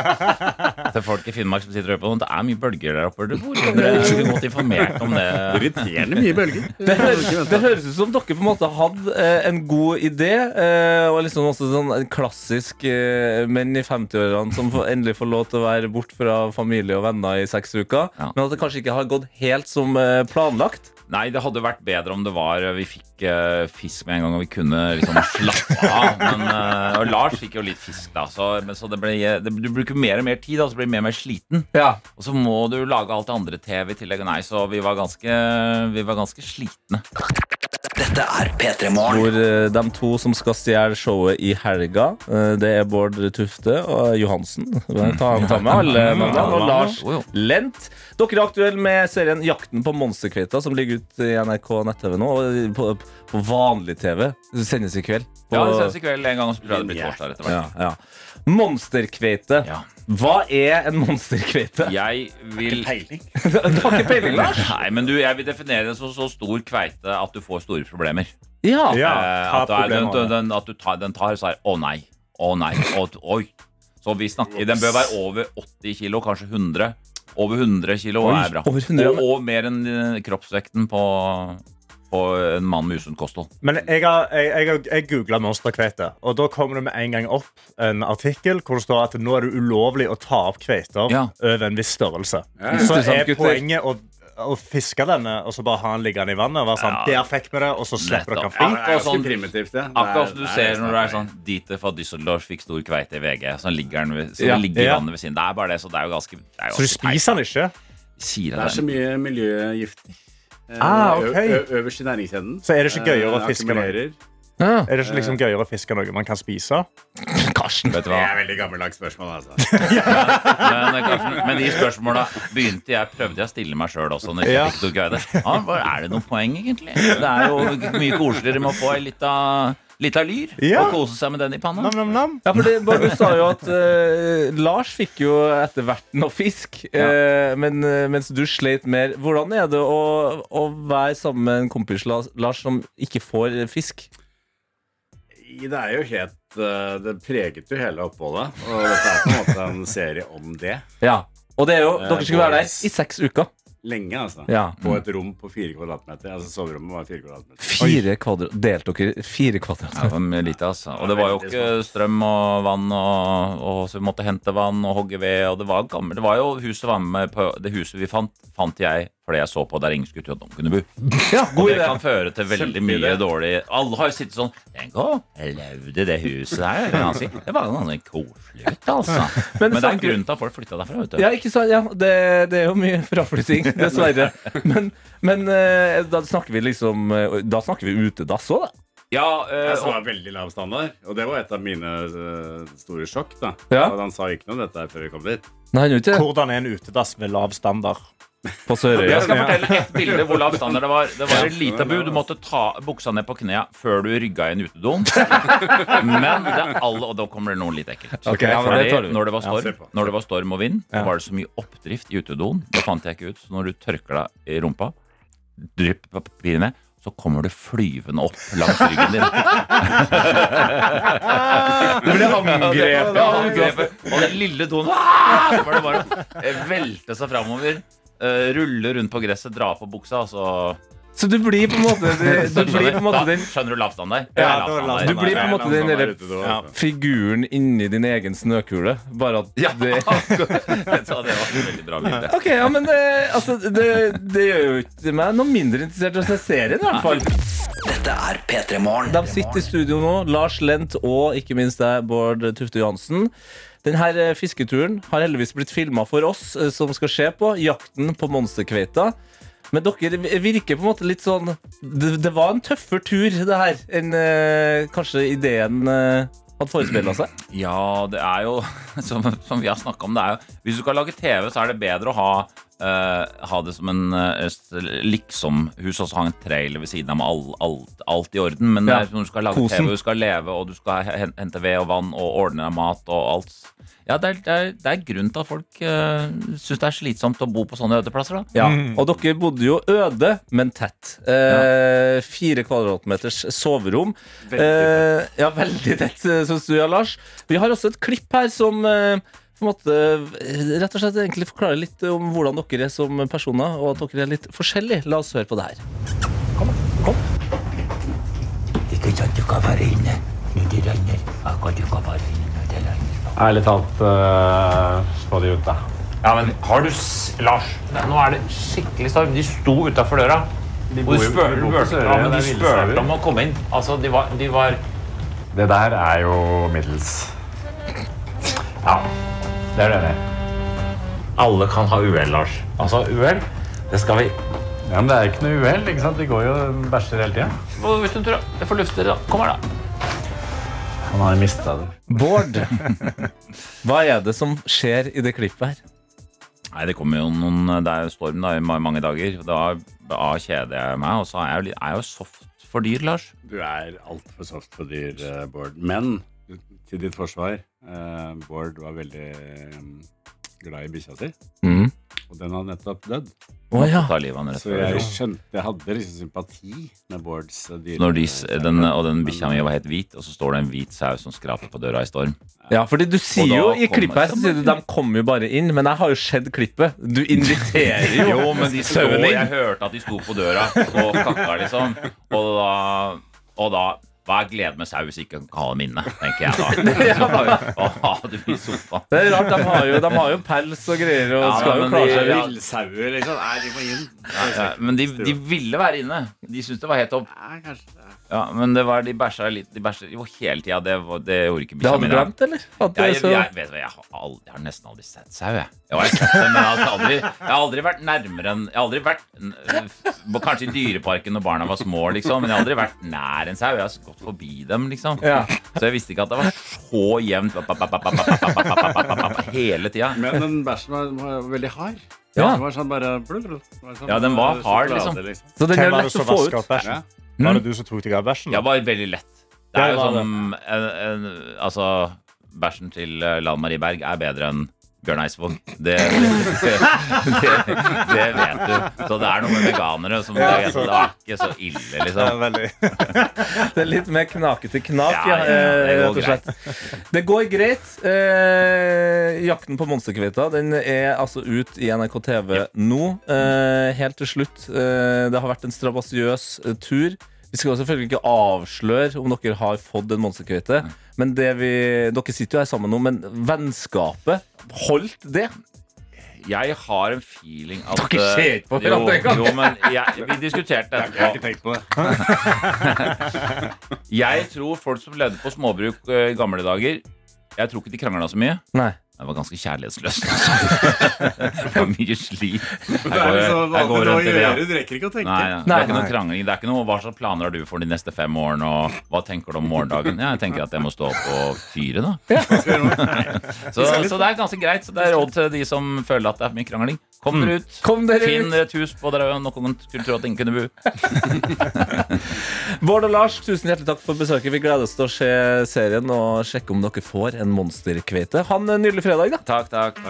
til folk i Finnmark som sitter og hører på, det er mye bølger der oppe. Hvor er dere ikke godt informert om det? Irriterende mye bølger. Det, høres- det høres ut som dere på en måte hadde eh, en god idé, eh, og liksom også sånn en klassisk eh, menn i 50-årene som får- endelig får lov til å være bort fra familie og venner i seks uker, Ja. men at det kanskje ikke har gått helt som eh, planlagt. Nei, det hadde vært bedre om det var Vi fikk eh, fisk med en gang, og vi kunne liksom slappe av. Men, eh, og Lars fikk jo litt fisk, da. Så, men, så det ble, eh, det, du bruker mer og mer tid, da, så blir du mer og mer sliten. Ja. Og så må du lage alt det andre TV i tillegg. Nei, så vi var ganske, vi var ganske slitne. Dette er P3 Morgen. Hvor eh, de to som skal stjele showet i helga, eh, det er Bård Tufte og Johansen. Ta, Mm. ta med alle navnene. Og Lars Jo, jo. Lent. Dere er aktuelle med serien Jakten på monsterkveita, som ligger ute i NRK nett-TV nå. og På, på vanlig TV. Det sendes i kveld. På, Ja, vi ses i kveld en gang, og så tror jeg det blir torsdag etter hvert. ja, ja. Monsterkveite. Ja. Hva er en monsterkveite? Jeg vil Du har ikke peiling, Lars? Nei, men du, jeg vil definere det som så stor kveite at du får store problemer. Ja. Eh, ta at, du er, den, problemer. den, den, at du tar, den tar så er Å nei, å nei, å, oi Så vi snakker, den bør være over 80 kilo Kanskje 100 Over 100 kilo Oi, er bra over 100, ja, og, men- og mer enn eh, kroppsvekten på, på en mann med usunn kosthold Men jeg, har- jeg, jeg, har- jeg googla monsterkveite, og da kommer det med en gang opp en artikkel hvor det står at nå er det ulovlig å ta opp kveiter Ja. over en viss størrelse. Ja. Så Interessant, er gutter. poenget å, å fiske denne og så bare ha den liggende i vannet. Og være sånn, Ja. Der fikk vi det, og så slipper dere Nettopp. den fri. Det er ganske Akkurat sånn- primitivt, det. Akkurat som du ser når du er sånn Dieter fra Düsseldorf fikk stor kveite i VG Så ligger den ved, så Ja, den ligger i ja. vannet ved siden Det er bare det, så det er jo ganske det er jo Så du ganske spiser den ikke? teit. Sier jeg Det er så det. mye miljøgifter. Eh, Ah, ok. ø- ø- Øverst i næringskjeden. Så er det ikke gøyere å Eh, fiske med akkumulerer. Er det ikke liksom gøyere å fiske noe man kan spise? Karsten. Vet du Det hva? er veldig gammeldags spørsmål, altså. Men, eh, Karsten, men de spørsmåla begynte jeg prøvde jeg å stille meg sjøl også. Når jeg Ja. fikk noe guide. ja, hva- er det noe poeng, egentlig? Det er jo mye koseligere med å få ei lita, lita lyr Ja. og kose seg med den i panna. Nam, nam, nam. Ja, for det, du sa jo at eh, Lars fikk jo etter hvert noe fisk, eh, men, eh, mens du sleit mer. Hvordan er det å, å være sammen med en kompis, Lars, Lars, som ikke får eh, fisk? Det er jo helt eh, Det preget jo hele oppholdet. Og dette er på en måte en serie om det. Ja. Og det er jo, Eh, dere skulle være der boys. i seks uker. Lenge, altså. Ja. På et rom på fire kvadratmeter. Altså soverommet var fire kvadratmeter. Fire kvadrat, Delt dere fire kvadrat? Ja, det var mye lite, altså. Og det var jo ikke strøm og vann, og, og så vi måtte hente vann og hogge ved. Og det var gammelt. Det var jo huset var med på, det huset vi fant, fant jeg fordi jeg så på der ingen skulle tro at noen kunne bo. Ja, Og god det idé. kan føre til veldig Kjempeidé. mye dårlig Alle har jo sittet sånn Tenk å, jeg levde i det huset der. kan han si. Det var jo noe koselig, ut, altså. Men Men det er en samtidig- grunn til at folk flytta derfra. vet du Ja, ikke sant? Ja, det, det er jo mye fraflytting, dessverre. Men, men eh, da snakker vi liksom eh, Da snakker vi utedass òg, da. Ja, eh, Altså, det og, var veldig lav standard, og det var et av mine eh, store sjokk. da Ja. At Han sa ikke noe om dette her før vi kom dit. Nei, han gjør ikke det. Hvordan er en utedass med lav standard? På Sørøya. jeg skal fortelle ett bilde hvor lav standard det var. Det var et lite bu. Du måtte ta buksa ned på knea før du rygga i en utedo. Men det er alle Og da kommer det noe litt ekkelt. Ok, ja, men det tar Fordi vi. når det, var se storm, på. når det var storm og vind, var det så mye oppdrift i utedoen. Det fant jeg ikke ut. Så når du tørker deg i rumpa, drypper papiret ned, så kommer det flyvende opp langs ryggen din. Du ble angrepet. Ja, angrepet. Og den lille doen ah! Så var det bare å eh, velte seg framover. eh, rulle rundt på gresset, dra på buksa, og så Så du blir på en måte, du, du blir på en måte Da den Skjønner du lavstanden der? Ja, Det er da er lavstandard. lavstandard. Du blir på en måte den der derre ute, da. Ja. figuren inni din egen snøkule. Bare at Ja, det akkurat. Så det var et veldig bra bilde. Ok, ja, men det, altså, det, det gjør jo ikke meg noe mindre interessert i å se serien, i hvert fall. Dette er P3 Morgen. De sitter i studio nå, Lars Lent og ikke minst deg, Bård Tufte Johansen. Denne fisketuren har heldigvis blitt filma for oss eh, som skal se på Jakten på monsterkveita. Men dere virker på en måte litt sånn Det, det var en tøffere tur, det her, enn eh, kanskje ideen eh, hadde forespeila seg. Ja, det er jo som, som vi har snakka om, det er jo Hvis du skal lage TV, så er det bedre å ha eh, ha det som en eh, s- liksom-hus og så ha en trailer ved siden av med all, alt, alt i orden. Men Ja. eh, når du skal lage Kosen. TV, du skal leve, og du skal he- hente ved og vann og ordne deg mat og alt Ja, det er, det er, det er grunn til at folk uh, syns det er slitsomt å bo på sånne ødeplasser, da. Ja, og dere bodde jo øde, men tett. Eh, fire kvadratmeters soverom. Eh, ja, veldig tett, syns du, ja, Lars. Vi har også et klipp her som eh, på en måte eh, rett og slett egentlig forklarer litt om hvordan dere er som personer, og at dere er litt forskjellige. La oss høre på det her. Ikke sant du kan være inne når det regner. Akkurat du kan være inne når det regner. Ærlig talt, uh, få de ut, da. Ja, men har du s Lars, nå er det skikkelig storm. De sto utafor døra. De bor Hvor jo- spør, de bor på spør, Sørøya, ja, men det de er spurte villsauer. om å komme inn. Altså, de var, de var Det der er jo middels. Ja, det er det enig i. Alle kan ha uhell, Lars. Altså, uhell, det skal vi Ja, men det er ikke noe uhell. ikke sant? De går jo og bæsjer hele tida. Hva- Hvis du tror Jeg får lufte da. Kom her, da. Han har mista det. Bård, hva er det som skjer i det klippet her? Nei, det kommer jo noen Det er jo storm da, i ma- mange dager. og Da, da kjeder jeg meg. Og så er jeg, jo litt- er jeg jo soft for dyr, Lars. Du er altfor soft for dyr, eh, Bård. Men til ditt forsvar, eh, Bård var veldig eh, glad i bikkja si. Mhm. Og den har nettopp dødd. Å, ja. Ta livet av den rett Så før. jeg skjønte Jeg hadde liksom sympati med Bårds eh, dyre... Når de, s- den, og den bikkja mi var helt hvit, og så står det en hvit sau som skraper på døra i storm. Ja, fordi du sier Og da jo i kommer- klippet her så sier du, De kommer jo bare inn, men jeg har jo sett klippet. Du inviterer jo Eh, Jo, men de sto, sauen jeg inn. hørte at de sto på døra og kakka, liksom. Og da, og da Hva er glede med sau hvis ikke kan ha dem inne, tenker jeg da. Så bare, å, ha dem i sofaen. Det er rart, de har jo, de har jo pels og greier og Ja, skal jo men klare de- seg. ja. Villsauer, liksom. Nei, de må inn. Nei, nei, men de, de ville være inne. De syntes det var helt topp. Ja, men det var, de bæsja litt De bæsja jo hele tida. Det, var- det gjorde ikke Det bikkja hadde mi. du glemt, eller? At Jeg, det jeg, så- jeg, vet du hva, jeg, har aldri, jeg har nesten aldri sett sau, jeg. Jo, jeg, har sett det, men jeg, har aldri, jeg har aldri vært nærmere enn Jeg har aldri vært n- f- Kanskje i Dyreparken når barna var små, liksom, men jeg har aldri vært nær en sau. Jeg har gått forbi dem, liksom. Så jeg visste ikke at det var så jevnt ba- ba- ba- ba- ba- ba- ba- ba- ba- ba- ba- ba- hele tida. Men den bæsjen var, var veldig hard. Ja. Det var sånn bare blub, blub. Det var sånn Ja, den var hard, sjokolade, liksom. Hvem var det som vasket opp bæsjen? Mm. Ja. Var det du som tok deg av bæsjen? Ja, bare veldig lett. Det er Ja, jo det var som en, en, Altså, bæsjen til eh, Lan Marie Berg er bedre enn Bjørn Eidsvåg. Det, det, det, det vet du. Så det er noe med veganere som det, Ja, det er ikke så ille, liksom. Det er litt mer knakete knak, Ja, ja. ja, ja, det eh, går Rett og slett. Det går greit. Eh, jakten på monsterkveita den er altså ut i NRK TV nå. Eh, helt til slutt. Eh, det har vært en strabasiøs eh, tur. Vi skal jo selvfølgelig ikke avsløre om dere har fått en monsterkveite. Men det vi, dere sitter jo her sammen nå, men vennskapet, holdt det? Jeg har en feeling at Dere ser eh, ikke på jo, hverandre engang. jo, men jeg, vi diskuterte Jeg har ikke tenkt på det. Jeg tror folk som levde på småbruk eh, i gamle dager Jeg tror ikke de krangla så mye. Nei. Det var ganske kjærlighetsløst. Altså. Det var mye slit. Jeg Det er går- jeg liksom går vanlig rundt å i det, ja. gjøre, du rekker ikke å tenke. Nei, ja. det Nei, er ikke noe nei. krangling. Det er ikke noe, hva slags planer har du for de neste fem årene, og hva tenker du om morgendagen? Ja, jeg tenker at jeg må stå opp og fyre, da. Nei. Så, så det er ganske greit. Så det er råd til de som føler at det er for mye krangling. Mm. Kom dere ut. Finn dere et hus på Drøya, noen kultur at ingen kunne bo. Bård og Lars, tusen hjertelig takk for besøket. Vi gleder oss til å se serien og sjekke om dere får en monsterkveite. Ha en nydelig fredag, da. Takk, takk.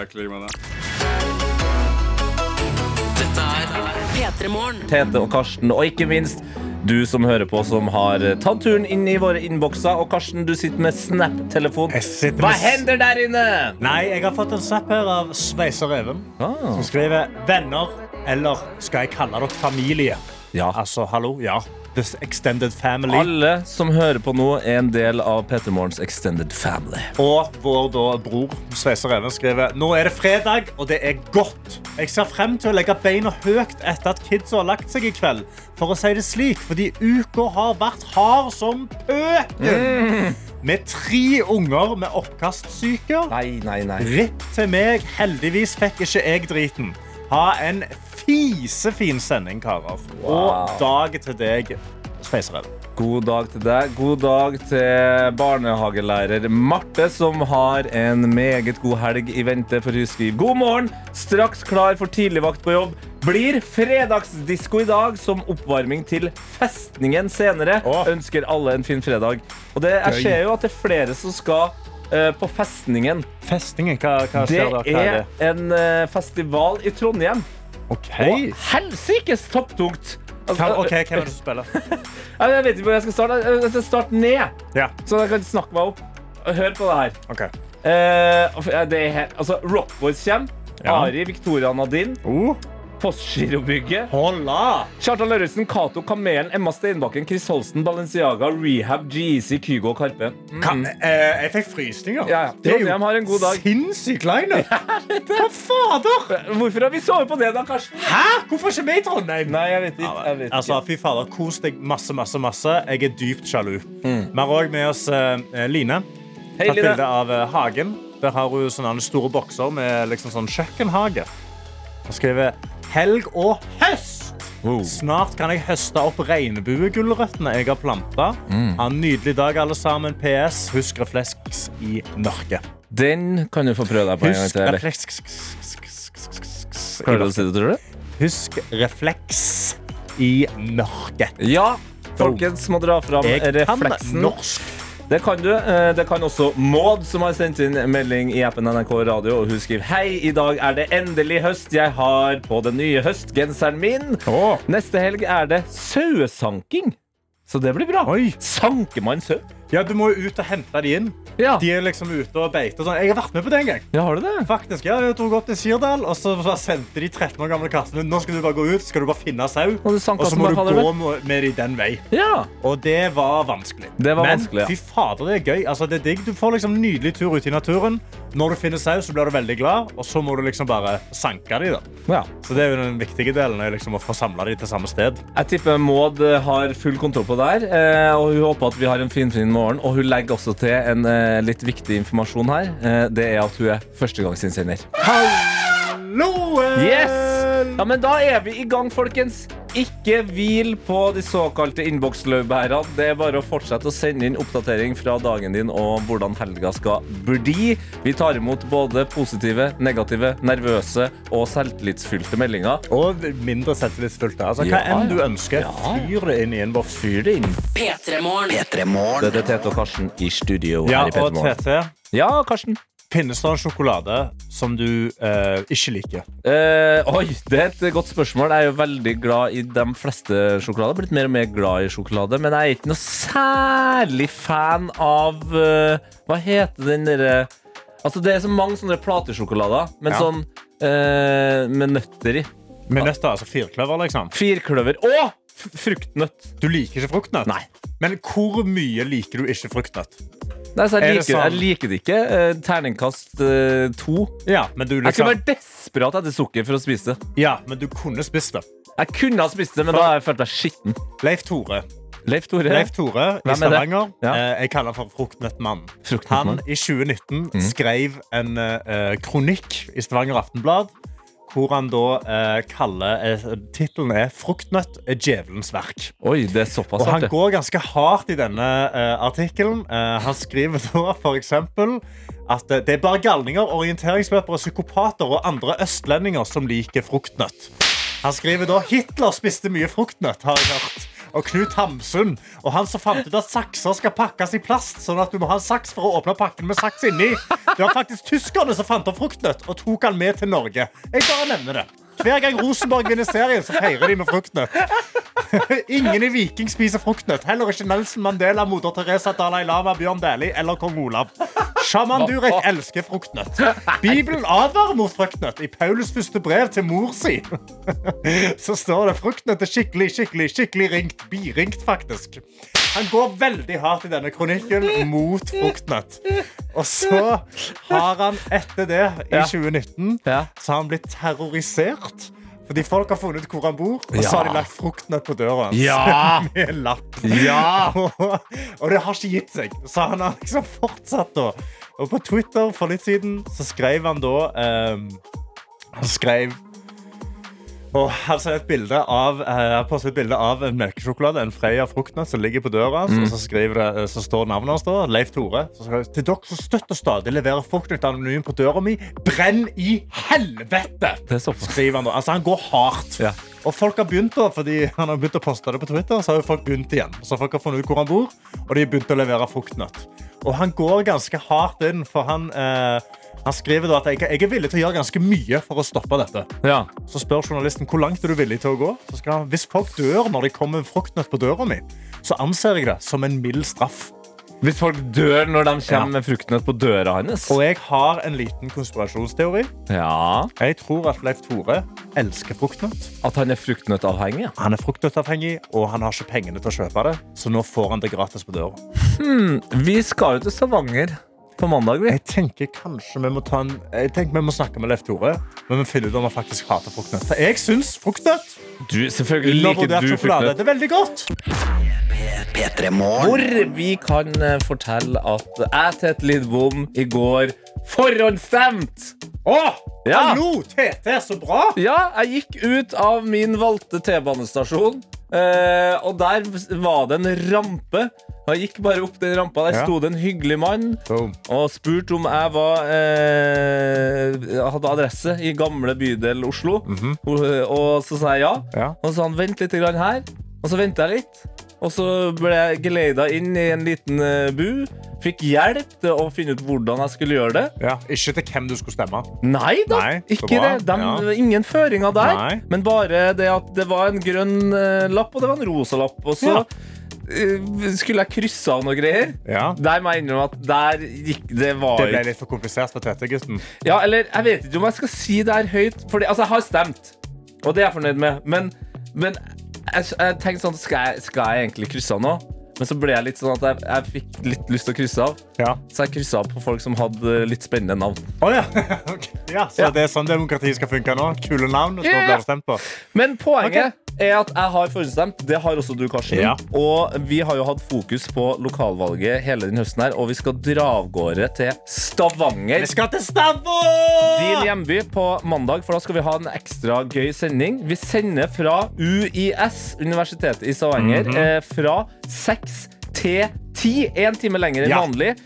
Dette er P3 Morgen. Tete og Karsten, og ikke minst du som hører på, som har tatt turen inn i våre innbokser. Og Karsten, du sitter med Snap-telefon. Hva hender der inne? Nei, jeg har fått en snap her av Sveiser Even, som skriver 'venner', eller 'skal jeg kalle dere familie'? Ja. Altså, hallo? Ja. This extended family. Alle som hører på nå, er en del av Petter Morgens Extended Family. Og vår da bror Sveiser Even skriver Nå er det fredag, og det er godt. Jeg ser frem til å legge beina høyt etter at kidsa har lagt seg i kveld. For å si det slik, fordi uka har vært hard som pøken. Mm. Med tre unger med oppkastsyke. Nei, nei, nei. Ripp til meg. Heldigvis fikk ikke jeg driten. Ha en fisefin sending, karer. Og dag til deg, Sveiser Even. God dag til deg. God dag til barnehagelærer Marte, som har en meget god helg i vente. For hun skriver god morgen, straks klar for tidligvakt på jobb. Blir fredagsdisko i dag som oppvarming til festningen senere. Ønsker alle en fin fredag. Og det, jeg Gøy. ser jo at det er flere som skal eh, på festningen. Festningen, hva, hva Det skjer da? Hva er en eh, festival i Trondheim. Ok. Og helsikes topptungt! Hvem- ok, hvem er det som spiller? Nei, Jeg vet ikke hvor jeg skal starte. Jeg skal starte ned, Ja. så jeg kan snakke meg opp. Hør på det her. Ok. Eh, og f- ja, Oh. det er, he- altså, Rockboys kommer. Ja. Oh. Ari, Victoria Nadine. Postgirobygget. Kjartan Lauritzen, Cato Kamelen, Emma Steinbakken, Chris Holsten, Balenciaga, Rehab, GEC, Kygo og Karpe. Ka- eh, jeg fikk frysninger. Mm. Ja, ja. Trondheim har en god dag. sinnssykt lineup! Hva fader? Hvorfor har vi sovet på det, da, Karsten? Hæ? Hvorfor er ikke vi i Trondheim? Nei, jeg vet ikke. Jeg vet ikke. Altså, fy fader, Kos deg masse, masse, masse. Jeg er dypt sjalu. Mm. Vi har òg med oss eh, Line. Hei, Tatt Line. bilde av eh, hagen. Der har hun sånne store bokser med liksom sånn kjøkkenhage. Hun skriver 'Helg og høst'. Snart kan jeg høste opp regnbuegulrøttene jeg har planta. Mm. Ha en nydelig dag, alle sammen. PS. Husk refleks i mørket. Den kan du få prøve deg på en gang Husk til. eller? refleks Klarer du å si det, tror du? Husk refleks i mørket. Ja, folkens må dra fram Jeg kan refleksen. norsk. Det kan du. Eh, Det kan også Maud, som har sendt inn melding i appen NRK Radio. Og hun skriver Hei, i dag er det endelig høst. Jeg har på den nye høstgenseren min. Neste helg er det sauesanking. Så det blir bra. Sanker man sau? Ja, du må jo ut og hente de inn. Ah. De er liksom ute og beiter. og Sånn. Jeg har vært med på det en gang. Ja, har du det? Faktisk, ja, Jeg dro opp til Sirdal, og så så sendte de 13 år gamle kassen ut. Nå skal du bare gå ut, skal du bare finne sau. Og, sank så kassen må bare du faller gå vekk. med med de den vei. Ja. Og det var vanskelig. Det var Men vanskelig, ja. fy fader, det er gøy. Altså, det er digg. Du får liksom nydelig tur ute i naturen. Når du finner sau, så blir du veldig glad, og så må du liksom bare sanke de da. Så det er jo den viktige delen, er liksom å få samla de til samme sted. Jeg tipper Maud eh, har full kontroll på det her. eh, Og hun håper at vi har en finfin morgen. Og hun legger også til en eh, litt viktig informasjon her. eh, Det er at hun er førstegangsinnsender. Halloen! Yes! Ja, men da er vi i gang, folkens. Ikke hvil på de såkalte innboksløvbærene. Det er bare å fortsette å sende inn oppdatering fra dagen din og hvordan helga skal bli. Vi tar imot både positive, negative, nervøse og selvtillitsfylte meldinger. Og mindre selvtillitsfylte. Altså, hva enn du ønsker, fyr det inn i en boks. Fyr det inn. P3 Morgen. Det er Tete og Karsten i studio Ja, her i og Petermorgen. TT. Ja, Karsten. Finnes det en sjokolade som du eh, ikke liker? Eh, oi, det er et godt spørsmål. Jeg er jo veldig glad i de fleste sjokolader. Blitt mer og mer glad i sjokolade, men jeg er ikke noe særlig fan av eh, Hva heter den derre Altså, det er så mange sånne platesjokolader, men Ja. sånn eh, med nøtter i. Med nøtter, altså firkløver, liksom? Firkløver og f- fruktnøtt. Du liker ikke fruktnøtt? Men hvor mye liker du ikke fruktnøtt? Nei, så Er jeg, det liker, jeg sånn- liker det ikke. Eh, terningkast eh, to. Ja, men du Jeg skal liksom- være desperat etter sukker for å spise det. Ja, men du kunne spist det. Jeg kunne ha spist det, men da har jeg følt meg skitten. Leif Tore. Leif Tore. Altså- Leif Tore Hvem er i det? Stavanger. Ja. eh, Jeg kaller han for Fruktnøttmann. Fruktnøttmann. Han i 2019 Mm. skrev en eh, kronikk i Stavanger Aftenblad hvor han da eh, kaller eh, Tittelen er 'Fruktnøtt er djevelens verk'. Oi, det er såpass Og han hardt, det. går ganske hardt i denne eh, artikkelen. Eh, han skriver da for eksempel at eh, det er bare galninger, orienteringsløpere, psykopater og andre østlendinger som liker fruktnøtt. Han skriver da Hitler spiste mye fruktnøtt, har jeg hørt. Og Knut Hamsun. Og han som fant ut at sakser skal pakkes i plast, sånn at du må ha en saks for å åpne pakken med saks inni. Det var faktisk tyskerne som fant opp fruktnøtt og tok han med til Norge. Jeg bare nevner det. Hver gang Rosenborg vinner serien, så feirer de med fruktnøtt. Ingen i Viking spiser fruktnøtt. Heller ikke Nelson Mandela, moder Teresa, Dalai Lama, Bjørn Dæhlie eller kong Olav. Sjaman Durek elsker fruktnøtt. Bibelen advarer mot fruktnøtt. I Paulus første brev til mor si så står det fruktnøtt er skikkelig, skikkelig, skikkelig ringt. Biringt, faktisk. Han går veldig hardt i denne kronikken mot fruktnøtt. Og så har han etter det, i Ja. 2019, så har han blitt terrorisert. Fordi folk har funnet ut hvor han bor, og Ja. så har de lagt fruktnøtt på døra hans. Ja. Med en lapp. Ja. og, og det har ikke gitt seg, så han har liksom fortsatt da. Og på Twitter for litt siden så skrev han da ehm, Han skrev og han ser et bilde av, eh, han postet et bilde av en melkesjokolade, en Freia fruktnøtt, som ligger på døra hans. Mm. Og så, skriver det, eh, så står navnet hans der, Leif Tore. Så skriver, han, Til dere som støtter stadig leverer fruktnøtt anonym på døra mi, brenn i helvete! Skriver han da. Altså, han går hardt. Og folk har begynt da, fordi han har begynt å poste det på Twitter, så har jo folk begynt igjen. Så folk har funnet ut hvor han bor, og de har begynt å levere fruktnøtt. Og han går ganske hardt inn, for han, eh, han skriver da at jeg, jeg er villig til å gjøre ganske mye for å stoppe dette. Så spør journalisten hvor langt er du villig til å gå. Så skal han, Hvis folk dør når de kommer med fruktnøtt på døra mi, så anser jeg det som en mild straff. Hvis folk dør når de kommer med fruktnøtt på døra hans. Og jeg har en liten konspirasjonsteori. Ja. Jeg tror at Leif Tore elsker fruktnøtt. At han er fruktnøttavhengig? Han er fruktnøttavhengig, og han har ikke pengene til å kjøpe det, så nå får han det gratis på døra. Hmm, vi skal jo til Stavanger på mandag. Vi. Jeg tenker kanskje vi må, ta en, jeg tenker vi må snakke med Leif Tore, men vi finner ut om han faktisk hater fruktnøtt. For jeg syns fruktnøtt Du, selvfølgelig liker undervurdert du sjokolade, fruktnøtt. Det er veldig godt. Hvor vi kan eh, fortelle at jeg, Tete Lidbom, i går forhåndstemt! Åh, Ja. Hallo, Tete, så bra! Ja, jeg gikk ut av min valgte T-banestasjon, eh, og der var det en rampe. Og Jeg gikk bare opp den rampa. Der Ja. sto det en hyggelig mann og spurte om jeg var eh, hadde adresse i gamle bydel Oslo. Mhm. og, og så sa jeg ja. Og så sa han vent litt grann her. Og så venta jeg litt. Og så ble jeg geleida inn i en liten eh, bu. Fikk hjelp til å finne ut hvordan jeg skulle gjøre det. Ikke til hvem du skulle stemme. Nei da, Nei, så ikke det. bra. Dem- Ja. Ingen føringer der. Nei. Men bare det at det var en grønn eh, lapp, og det var en rosa lapp. Og så Ja. eh, skulle jeg krysse av noen greier. Der må jeg innrømme at der gikk det var Det ble ikke- litt for komplisert for Tete, gutten. Ja, eller jeg vet ikke om jeg skal si det her høyt. Fordi, altså, jeg har stemt, og det er jeg fornøyd med. Men, men jeg, jeg tenkte sånn skal jeg, skal jeg egentlig krysse av nå? Men så ble jeg litt sånn at jeg, jeg fikk litt lyst til å krysse av. Så jeg kryssa av på folk som hadde litt spennende navn. Ja, så det er sånn demokratiet skal funke nå? Kule navn, og så Ja. blir det stemt på? Men poenget er at jeg har forhåndsstemt. Det har også du, Karsten. Ja. Og vi har jo hatt fokus på lokalvalget hele den høsten her, og vi skal dra av gårde til Stavanger. Vi skal til Stavanger! Din hjemby på mandag, for da skal vi ha en ekstra gøy sending. Vi sender fra UiS, Universitetet i Stavanger, Mhm. eh, fra seks til ti. Én time lenger enn Ja. vanlig.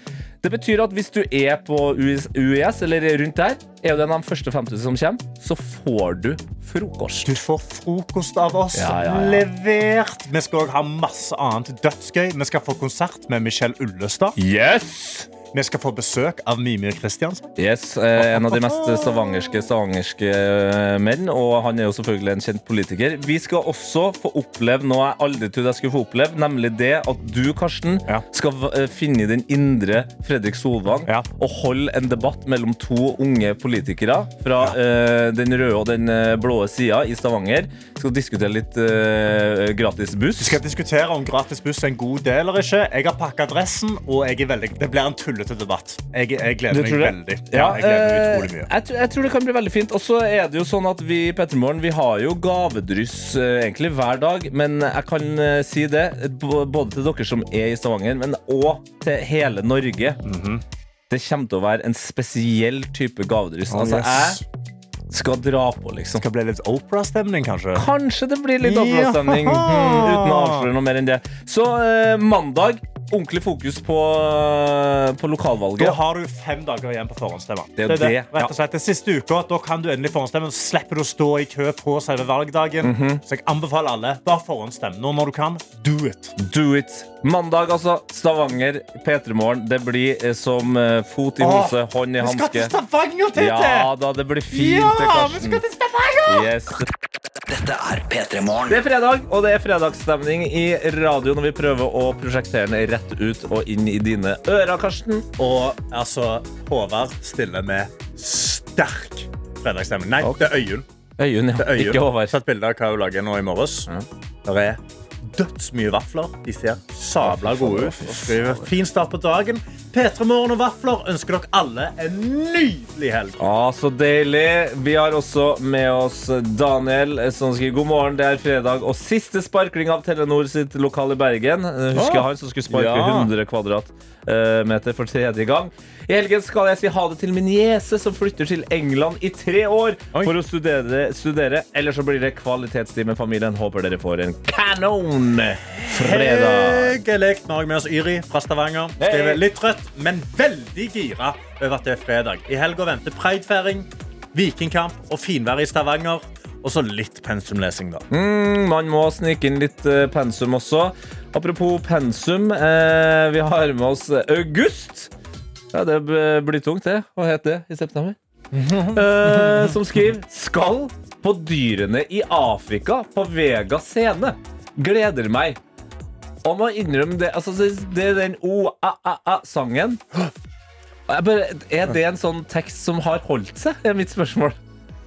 Det betyr at hvis du er på UiS, UiS eller er rundt der, er du en av de første 5000 som kommer, så får du frokost. Du får frokost av oss Ja, ja, ja. levert. Vi skal òg ha masse annet dødsgøy. Vi skal få konsert med Michelle Ullestad. Yes! Vi skal få besøk av Mimir Kristiansen. Yes, eh, En av de mest stavangerske stavangerske eh, menn, og han er jo selvfølgelig en kjent politiker. Vi skal også få oppleve noe jeg aldri trodde jeg skulle få oppleve, nemlig det at du, Karsten, skal v- eh, finne den indre Fredrik Solvang og holde en debatt mellom to unge politikere fra eh, den røde og den eh, blå sida i Stavanger. Skal diskutere litt eh, gratis buss. Vi skal diskutere om gratis buss er en god idé eller ikke. Jeg har pakka dressen, og jeg er veldig, det blir en tullete debatt. Jeg, jeg gleder Du meg tror det? veldig. Ja, jeg gleder meg eh, utrolig mye. Jeg, tror- jeg tror det kan bli veldig fint. Og så er det jo sånn at vi i Pettermorgen vi har jo gavedryss eh, egentlig hver dag. Men jeg kan eh, si det, eh, b- både til dere som er i Stavanger, men òg til hele Norge. Mhm. Det kommer til å være en spesiell type gavedryss. Oh, altså, yes. jeg skal dra på, liksom. Skal bli litt Opera-stemning, kanskje? Kanskje det blir litt opplåsstemning. Mm, uten å avsløre noe mer enn det. Så eh, mandag, ordentlig fokus på, på lokalvalget. Da har du fem dager igjen på forhåndsstemme. Det er jo det, Rett og slett. Det siste uka, da kan du endelig forhåndsstemme. Så slipper du å stå i kø på selve valgdagen. Mhm. Så jeg anbefaler alle, bare forhåndsstem nå når du kan. Do it. Do it. Mandag, altså. Stavanger, P3morgen. Det blir eh, som eh, fot i Åh, hose, hånd i vi skal til hanske. Stavanger, Tete! Ja da, det blir fint. Ja, det, vi Karsten. skal til Stavanger! Yes. Dette er P3 Morgen. Det er fredag, og det er fredagsstemning i radio når vi prøver å prosjektere den rett ut og inn i dine ører, Karsten. Og altså, Håvard stiller med sterk fredagsstemning. Nei, det er Øyunn. Øyunn, ja. Det er Øyunn. Ikke Håvard. Satt bilde av hva hun lager nå i morges. Det er dødsmye vafler. De ser sabla gode ut. Og skriver fin start på dagen. P3 Morgen og vafler ønsker dere alle en nydelig helg. Ja, så deilig. Vi har også med oss Daniel, eh, som skriver god morgen. Det er fredag og siste sparkling av Telenor sitt lokal i Bergen. Eh, Husker Ah, han som skulle sparke ja. 100 kvadratmeter for tredje gang. I helgen skal jeg si ha det til min niese, som flytter til England i tre år for å studere, studere. Eller så blir det kvalitetstid med familien. Håper dere får en kanon fredag. Hyggelig. Nå har jeg med oss Yri fra Stavanger. Skriver Hei. litt trøtt, men veldig gira over at det er fredag. I helga venter pridefeiring, vikingkamp og finvær i Stavanger. Og så litt pensumlesing, da. Mm, man må snike inn litt eh, pensum også. Apropos pensum, eh, vi har med oss August. Ja, det b- blir tungt, det. Hva het det i september? Eh, som skriver Skal på dyrene i Afrika på Vega scene. Gleder meg. Og må innrømme det. Altså, det, det er den o-a-a-a-sangen. Jeg bare- Er det en sånn tekst som har holdt seg? er mitt spørsmål.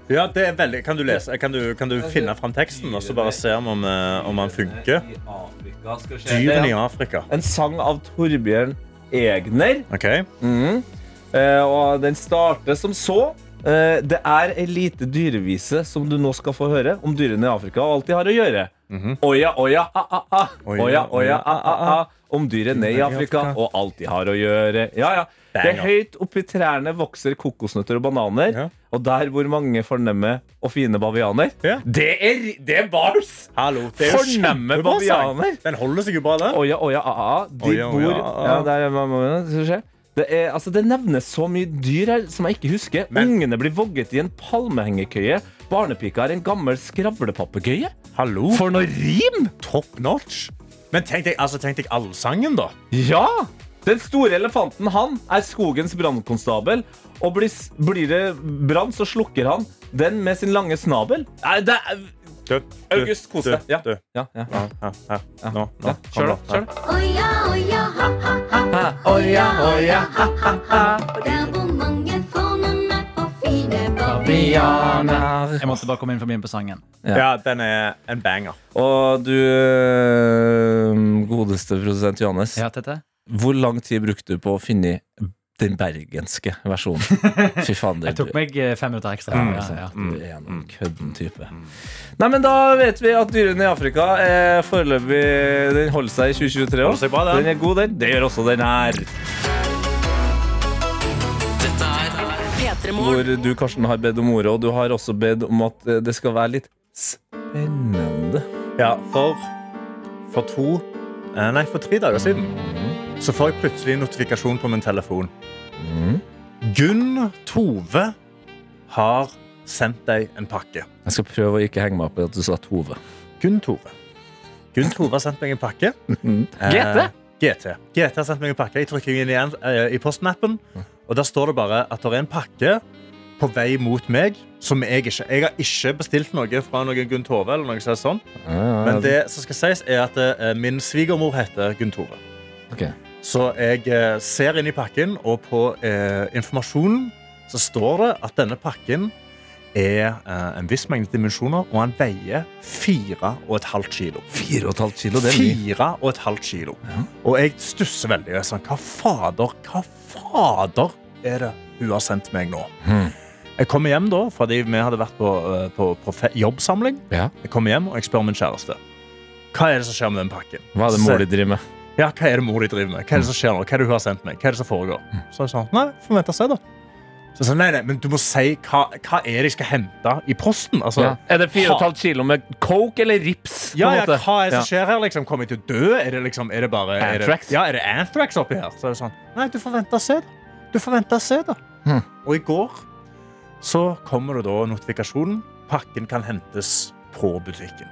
Ja, det er veldig Kan du, lese, kan du, kan du Altså, finne fram teksten, og så bare se om, eh, om den funker? Dyrene i Afrika. En sang av Torbjørn Egner. Mhm. Eh, og den starter som så. Eh, det er ei lite dyrevise som du nå skal få høre om dyrene i Afrika og alt de har å gjøre. Oja, oja, a, a, a. Oja, oja, Mhm. a, a, a. Om dyrene i Afrika og alt de har å gjøre. Ja, ja. Det er høyt oppi trærne vokser kokosnøtter og bananer. Og der hvor mange fornemme og fine bavianer. Det er, ri- det er bars! Hallo, det er jo Fornemme kjempebra sang. bavianer! Den holder seg jo bra, den. Oja, oja, a, a. De Oja, bor oja, a, a. Ja, der, er mamma- skal vi se. det, er, altså, det nevnes så mye dyr her som jeg ikke husker. Ungene blir vogget i en palmehengekøye. Barnepika er en gammel skravlepappegøye. Hallo? For noe rim! Top notch. Men tenk deg, altså, tenk deg allsangen, da. Ja! Den store elefanten han er skogens brannkonstabel. Og blir, s- blir det brann, så slukker han den med sin lange snabel. Nei, det er August, kos deg. Ja. Ja, ja. Nå, nå. Kjør, da. Kjør, da. Oja, oja, ha, ha, ha. Oja, oja, ha, ha, ha. Der bor mange fornemme og fine bavianer. Jeg måtte bare komme inn forbi på sangen. Ja. den er en banger. Og du, øhm, godeste produsent Johannes. Ja, Tete? Hvor lang tid brukte du på å finne den bergenske versjonen? Fy faen, det Jeg tok meg eh, fem minutter ekstra. Mm. Ja, ja. Du er en kødden type. Nei, men Da vet vi at dyrene i Afrika er foreløpig Den holder seg i 2023 år. Holder seg bra, den. er god, den. Det gjør også den her. Hvor du, Karsten, har bedt om ordet, og du har også bedt om at eh, det skal være litt spennende. Ja, for For to eh, Nei, for tre dager siden Så får jeg plutselig en notifikasjon på min telefon. Mhm. Gunn Tove har sendt deg en pakke. Jeg skal prøve å ikke henge meg opp i at du sa Tove. Gunn Tove. Gunn Tove har sendt meg en pakke. GT? Eh, GT. GT har sendt meg en pakke. Jeg trykker inn igjen eh, i postmappen, og der står det bare at det er en pakke på vei mot meg som jeg ikke Jeg har ikke bestilt noe fra noen Gunn Tove eller noe sånt. ja, altså. ja. Men det som skal sies, er at eh, min svigermor heter Gunn Tove. Ok. Så jeg eh, ser inn i pakken, og på eh, informasjonen så står det at denne pakken er eh, en viss mengde dimensjoner, og han veier fire og et halvt kilo. Fire og et halvt kilo, det er mye. Fire og et halvt kilo. Og jeg stusser veldig. og Jeg er sånn, hva fader, hva fader er det hun har sendt meg nå? Hmm. Jeg kommer hjem da, fordi vi hadde vært på, eh, på, på fe- jobbsamling. Jeg kommer hjem og jeg spør min kjæreste. Hva er det som skjer med den pakken? Hva er det mor di Hmm. driver med? Ja, hva er det mor di driver med? Hva er det som skjer nå? Hva er det hun har sendt meg? Hva er det som foregår? Hmm. Så er jeg sånn, nei, får vente og se da. Så jeg sa, nei, nei, men du må si hva, hva er det jeg skal hente i posten? Altså, Ja. Er det fire og et ha- halvt kilo med coke eller rips? på Ja, en ja, måte? hva er det som Ja. skjer her? Liksom, kommer jeg til å dø? Er det liksom, er det bare... er det- Anthrax? Ja, er det anthrax oppi her? Så er det sånn, nei, du får vente og se da. Du får vente og se da. Hm. Og i går så kommer det da notifikasjonen. Pakken kan hentes på butikken.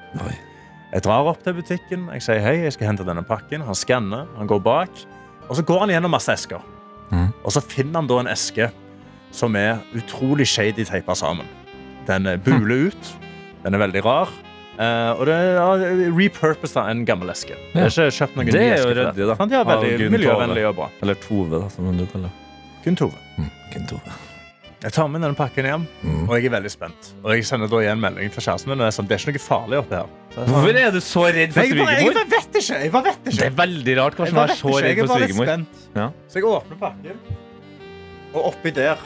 Jeg drar opp til butikken, jeg sier hei, jeg skal hente denne pakken. Han skanner, han går bak. Og så går han gjennom masse esker. Mm. Og så finner han da en eske som er utrolig shady teipa sammen. Den eh, Hm. buler ut. Den er veldig rar. Eh, og det er repurposed av en gammel eske. Det er ikke kjøpt noen Det ny er eske jo til ryddig, da. Sant? Ja, Av veldig Gunn Tove. miljøvennlig og bra. Eller Tove, da, som du kaller Kun Tove. Jeg tar med denne pakken hjem, og jeg er veldig spent. Og jeg sender da igjen melding til kjæresten min. Og jeg er sånn, det er ikke noe farlig oppi her. Så jeg er sånn, Hvorfor er du så redd for Nei, jeg bare- jeg svigermor? bare vet ikke! Jeg bare vet ikke. Det er veldig rart Jeg kanskje å bare være vet så ikke, redd jeg er for bare litt svigermor. spent. Ja. Så jeg åpner pakken, og oppi der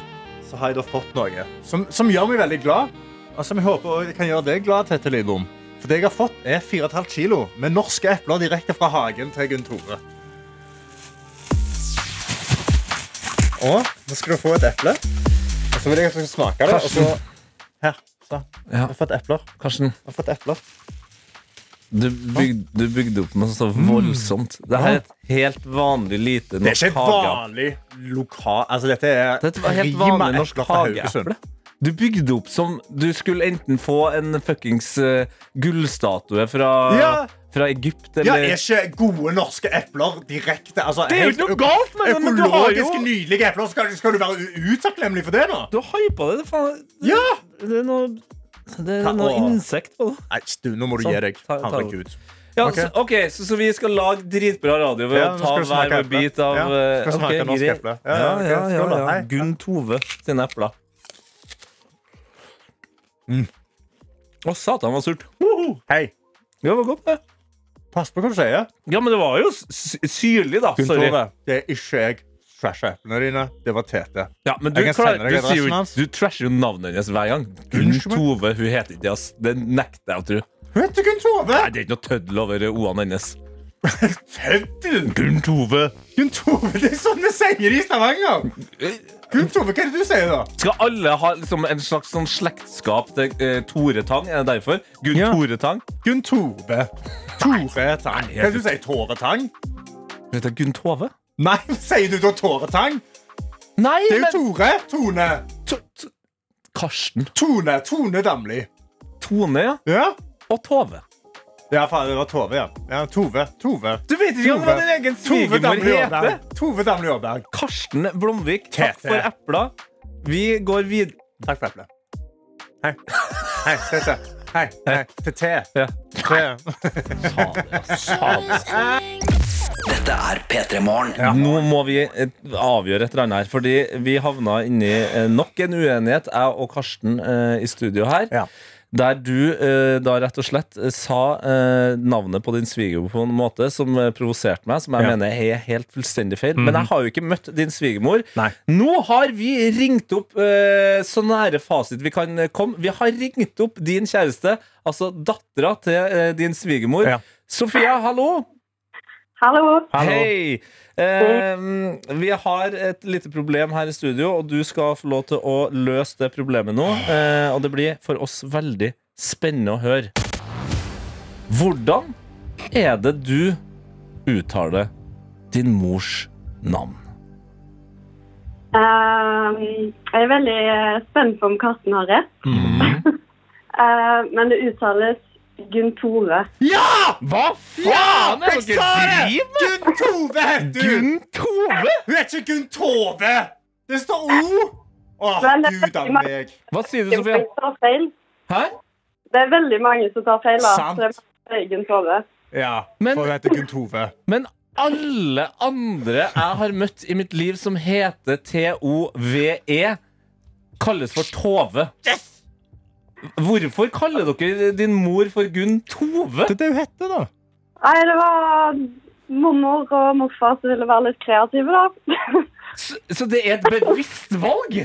så har jeg da fått noe som, som gjør meg veldig glad. Og som jeg håper også kan gjøre deg glad, Tete Lidbom. For det jeg har fått, er 4,5 kilo med norske epler direkte fra hagen til Gunn Tore. Og nå skal du få et eple. Og så vil jeg at du skal smake det. Og så Karsten. her. Så. Ja. Jeg har fått epler. Karsten, Jeg har fått epler. du bygde, du bygde opp noe så voldsomt. Dette er et helt vanlig lite Det er ikke norsk et hageeple. vanlig lokal... Altså, dette er Dette var helt vanlig norsk hageeple. Du bygde opp som du skulle enten få en fuckings eh, gullstatue fra, Ja. fra Egypt Ja, eller er ikke gode norske epler direkte altså, Det er jo helt ikke noe galt med det, men du har jo- Økologiske, nydelige epler. Skal, skal du være u- utakknemlig for det, nå? Du hypa det, det faen. Ja! Det er noe, det er Ta- noe Åh. insekt på det. Nei, du, nå må du Sånn. gi deg. Ta- ta- Herregud. Ja, så, ok, så, så vi skal lage dritbra radio ved Ja, å nå ta skal vi smake hver vår eple. bit av Ja, eh, skal smake ok, norske greit. epler. Ja, Ja, ja, ok, ja, ja, skål da. ja. Hei. Gunn Tove sine epler. Mm. Å, satan, var surt. Hei. Det var godt, det. Pass på hva du sier. Ja, men det var jo s- s- syrlig, da. Gunn Sorry. Tove, det er ikke jeg. Trash eplene dine. Det var Tete. Ja, men du, jeg kan klarer- sende du, deg sier jo, adressen hans. du trasher jo navnet hennes hver gang. Gunn Tove, hun heter ikke det. ass. Det nekter jeg å tro. Hun heter Gunn Tove! Nei, Det er ikke noe tøddel over O-ene hennes. Gunn Tove. Gunn Tove, det er sånn vi sier i Stavanger! Gunn Tove, hva er det du sier, da? Skal alle ha liksom, en slags sånn slektskap til eh, Tore Tang? Er det derfor? Gunn Tore Tang? Gunn Tove. Tore Tang. Hva er det du sier? Tove Tang? Vet du, Gunn Tove? Nei, sier du da Tore Tang? Nei, det er jo Tore. Tone. Karsten. Tone. Tone Damli. Tone, ja. Og Tove. Ja, faen, det var Tove, ja. ja Tove. Tove. Du vet ikke Tove. hva din egen Tove svigermor Damli heter? Aaberg. Tove Damli Aaberg. Karsten Blomvik, takk Tete. for epla. Vi går videre. Takk for eplet. Hei. Hei, Tete. Hei. Hei. Tete. Ja. Dette er P3 Morgen. Nå må vi eh, avgjøre et eller annet her, fordi vi havna inni eh, nok en uenighet, jeg og Karsten eh, i studio her. Der du eh, da rett og slett eh, sa eh, navnet på din svigermor på en måte som eh, provoserte meg, som jeg Ja. mener er helt fullstendig feil. Mhm. Men jeg har jo ikke møtt din svigermor. Nå har vi ringt opp eh, så nære fasit vi kan eh, komme. Vi har ringt opp din kjæreste, altså dattera til eh, din svigermor. Sofia, hallo! Hallo. Hei! Ehm, vi har et lite problem her i studio, og du skal få lov til å løse det problemet nå. Eh, og det blir for oss veldig spennende å høre. Hvordan er det du uttaler din mors navn? Ehm, jeg er veldig eh, spent på om Karsten har rett. Ehm, men det uttales Gunn Tore. Ja! Hva Ja, er jeg dere sa det! driver Gunn Tove heter hun! Gunn Tove? Hun heter ikke Gunn Tove! Det står O! Åh, Men det er gud av veldig mange meg. Hva sier som tar feil. Det er veldig mange som tar feil. da. Sant. Så det er Gunn Tore. Ja, for hun heter Gunn Tove. Men alle andre jeg har møtt i mitt liv som heter TOVE, E, kalles for Tove. Hvorfor kaller dere din mor for Gunn Tove? Det er det hun heter, da. Nei, det var mormor og morfar som ville være litt kreative, da. Så, det er et bevisst valg?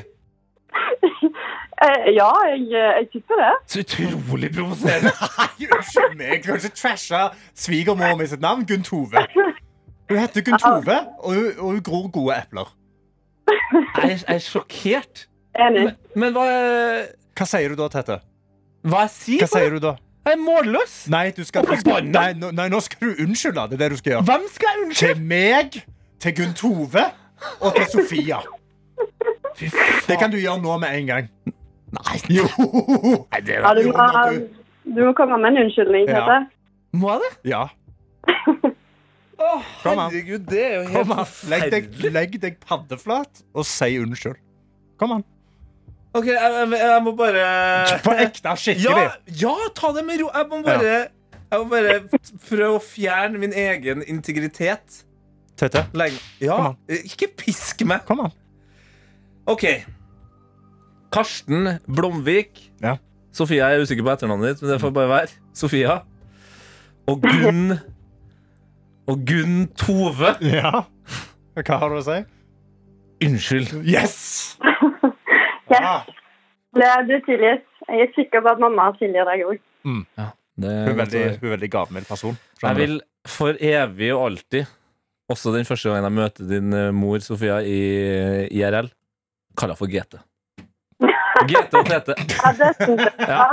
Eh, ja, jeg, jeg tipper det. Så utrolig provoserende. Nei, unnskyld meg. Du kan ikke trashe svigermor med sitt navn, Gunn Tove. Hun heter Gunn Tove, og hun, og hun gror gode epler. Jeg, er sjokkert. Enig. Men, hva Hva sier du da, Tete? Hva jeg sier? Hva sier du da? Jeg er målløs. Nei, du skal, Og forbanna. nei, nå- nei, nå skal du unnskylde. Det er det du skal gjøre. Hvem skal jeg unnskylde? Til meg, til Gunn Tove og til Sofia. Det kan du gjøre nå med en gang. Nei. Jo. det Ja, du, må, du må komme med en unnskyldning. Ja. Tete. Må jeg det? Ja. Kom an. Herregud, det er jo Kom an. Legg deg, legg deg paddeflat og si unnskyld. Kom an. OK, jeg, jeg, jeg må bare På ekte, skikkelig. Ja, ja, ta det med ro. Jeg må bare, jeg må bare prøve å fjerne min egen integritet. Tete. Legg, ja, ikke pisk meg. Kom an. OK. Karsten Blomvik. Sofia jeg er usikker på etternavnet ditt, men det får bare være. Sofia. Og Gunn Og Gunn Tove. Ja. Hva har du å si? Unnskyld. Yes! Ja. Det, du tilgis. Jeg er sikker på at mamma tilgir deg òg. Hun er veldig, hun er veldig gavmild person. Jeg vil for evig og alltid, også den første gangen jeg møter din eh, mor Sofia i eh, IRL, kalle henne for GT. GT og Tete. Ja.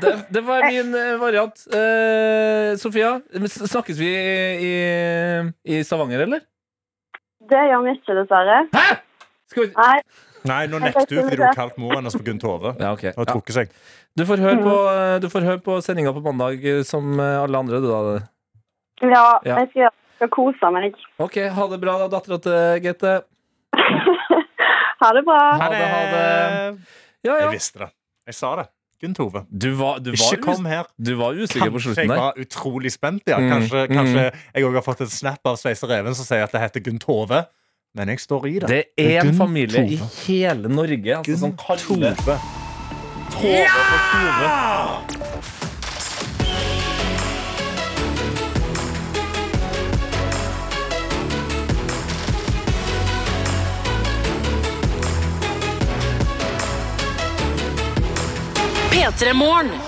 Det, det var min eh, variant. Eh, Sofia, men s- snakkes vi i, i Stavanger, eller? Det gjør vi ikke, dessverre. Hæ? Nei. Nei, nå nekter du fordi du har kalt mor hennes for Gunn Tove. Ja, ok. Hun har trukket seg. Du får høre på, eh, du får høre på sendinga på mandag eh, som eh, alle andre, du da. Ja, Ja. jeg skal, jeg skal kose meg. OK, ha det bra, da, eh, dattera til GT. Ha det bra. Ha det, ha det. Ja, ja. Jeg visste det. Jeg sa det. Gunn Tove. Du var, du var Ikke kom us- her. Du var usikker på Kanskje slutten jeg der. var utrolig spent. Ja. Mm, Kanskje, mm. kanskje jeg òg har fått en snap av Sveiser Even som sier at det heter Gunn Tove. Men jeg står i det. Det er en Gunn familie i Tove. hele Norge altså, som kaller Tove. Tove for Tove. P3-morgen.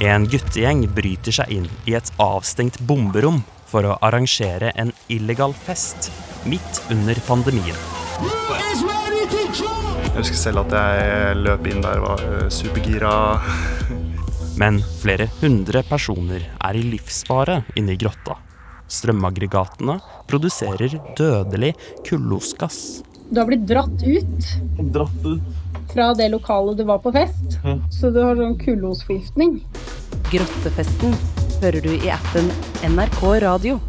En guttegjeng bryter seg inn i et avstengt bomberom for å arrangere en illegal fest midt under pandemien. Jeg husker selv at jeg løp inn der og var eh, supergira. Men flere hundre personer er i livsfare inne i grotta. Strømaggregatene produserer dødelig kullosgass. Du har blitt dratt ut Dratt ut fra det lokalet du var på fest, Mhm. så du har sånn kullosforgiftning. Grottefesten hører du i appen NRK Radio.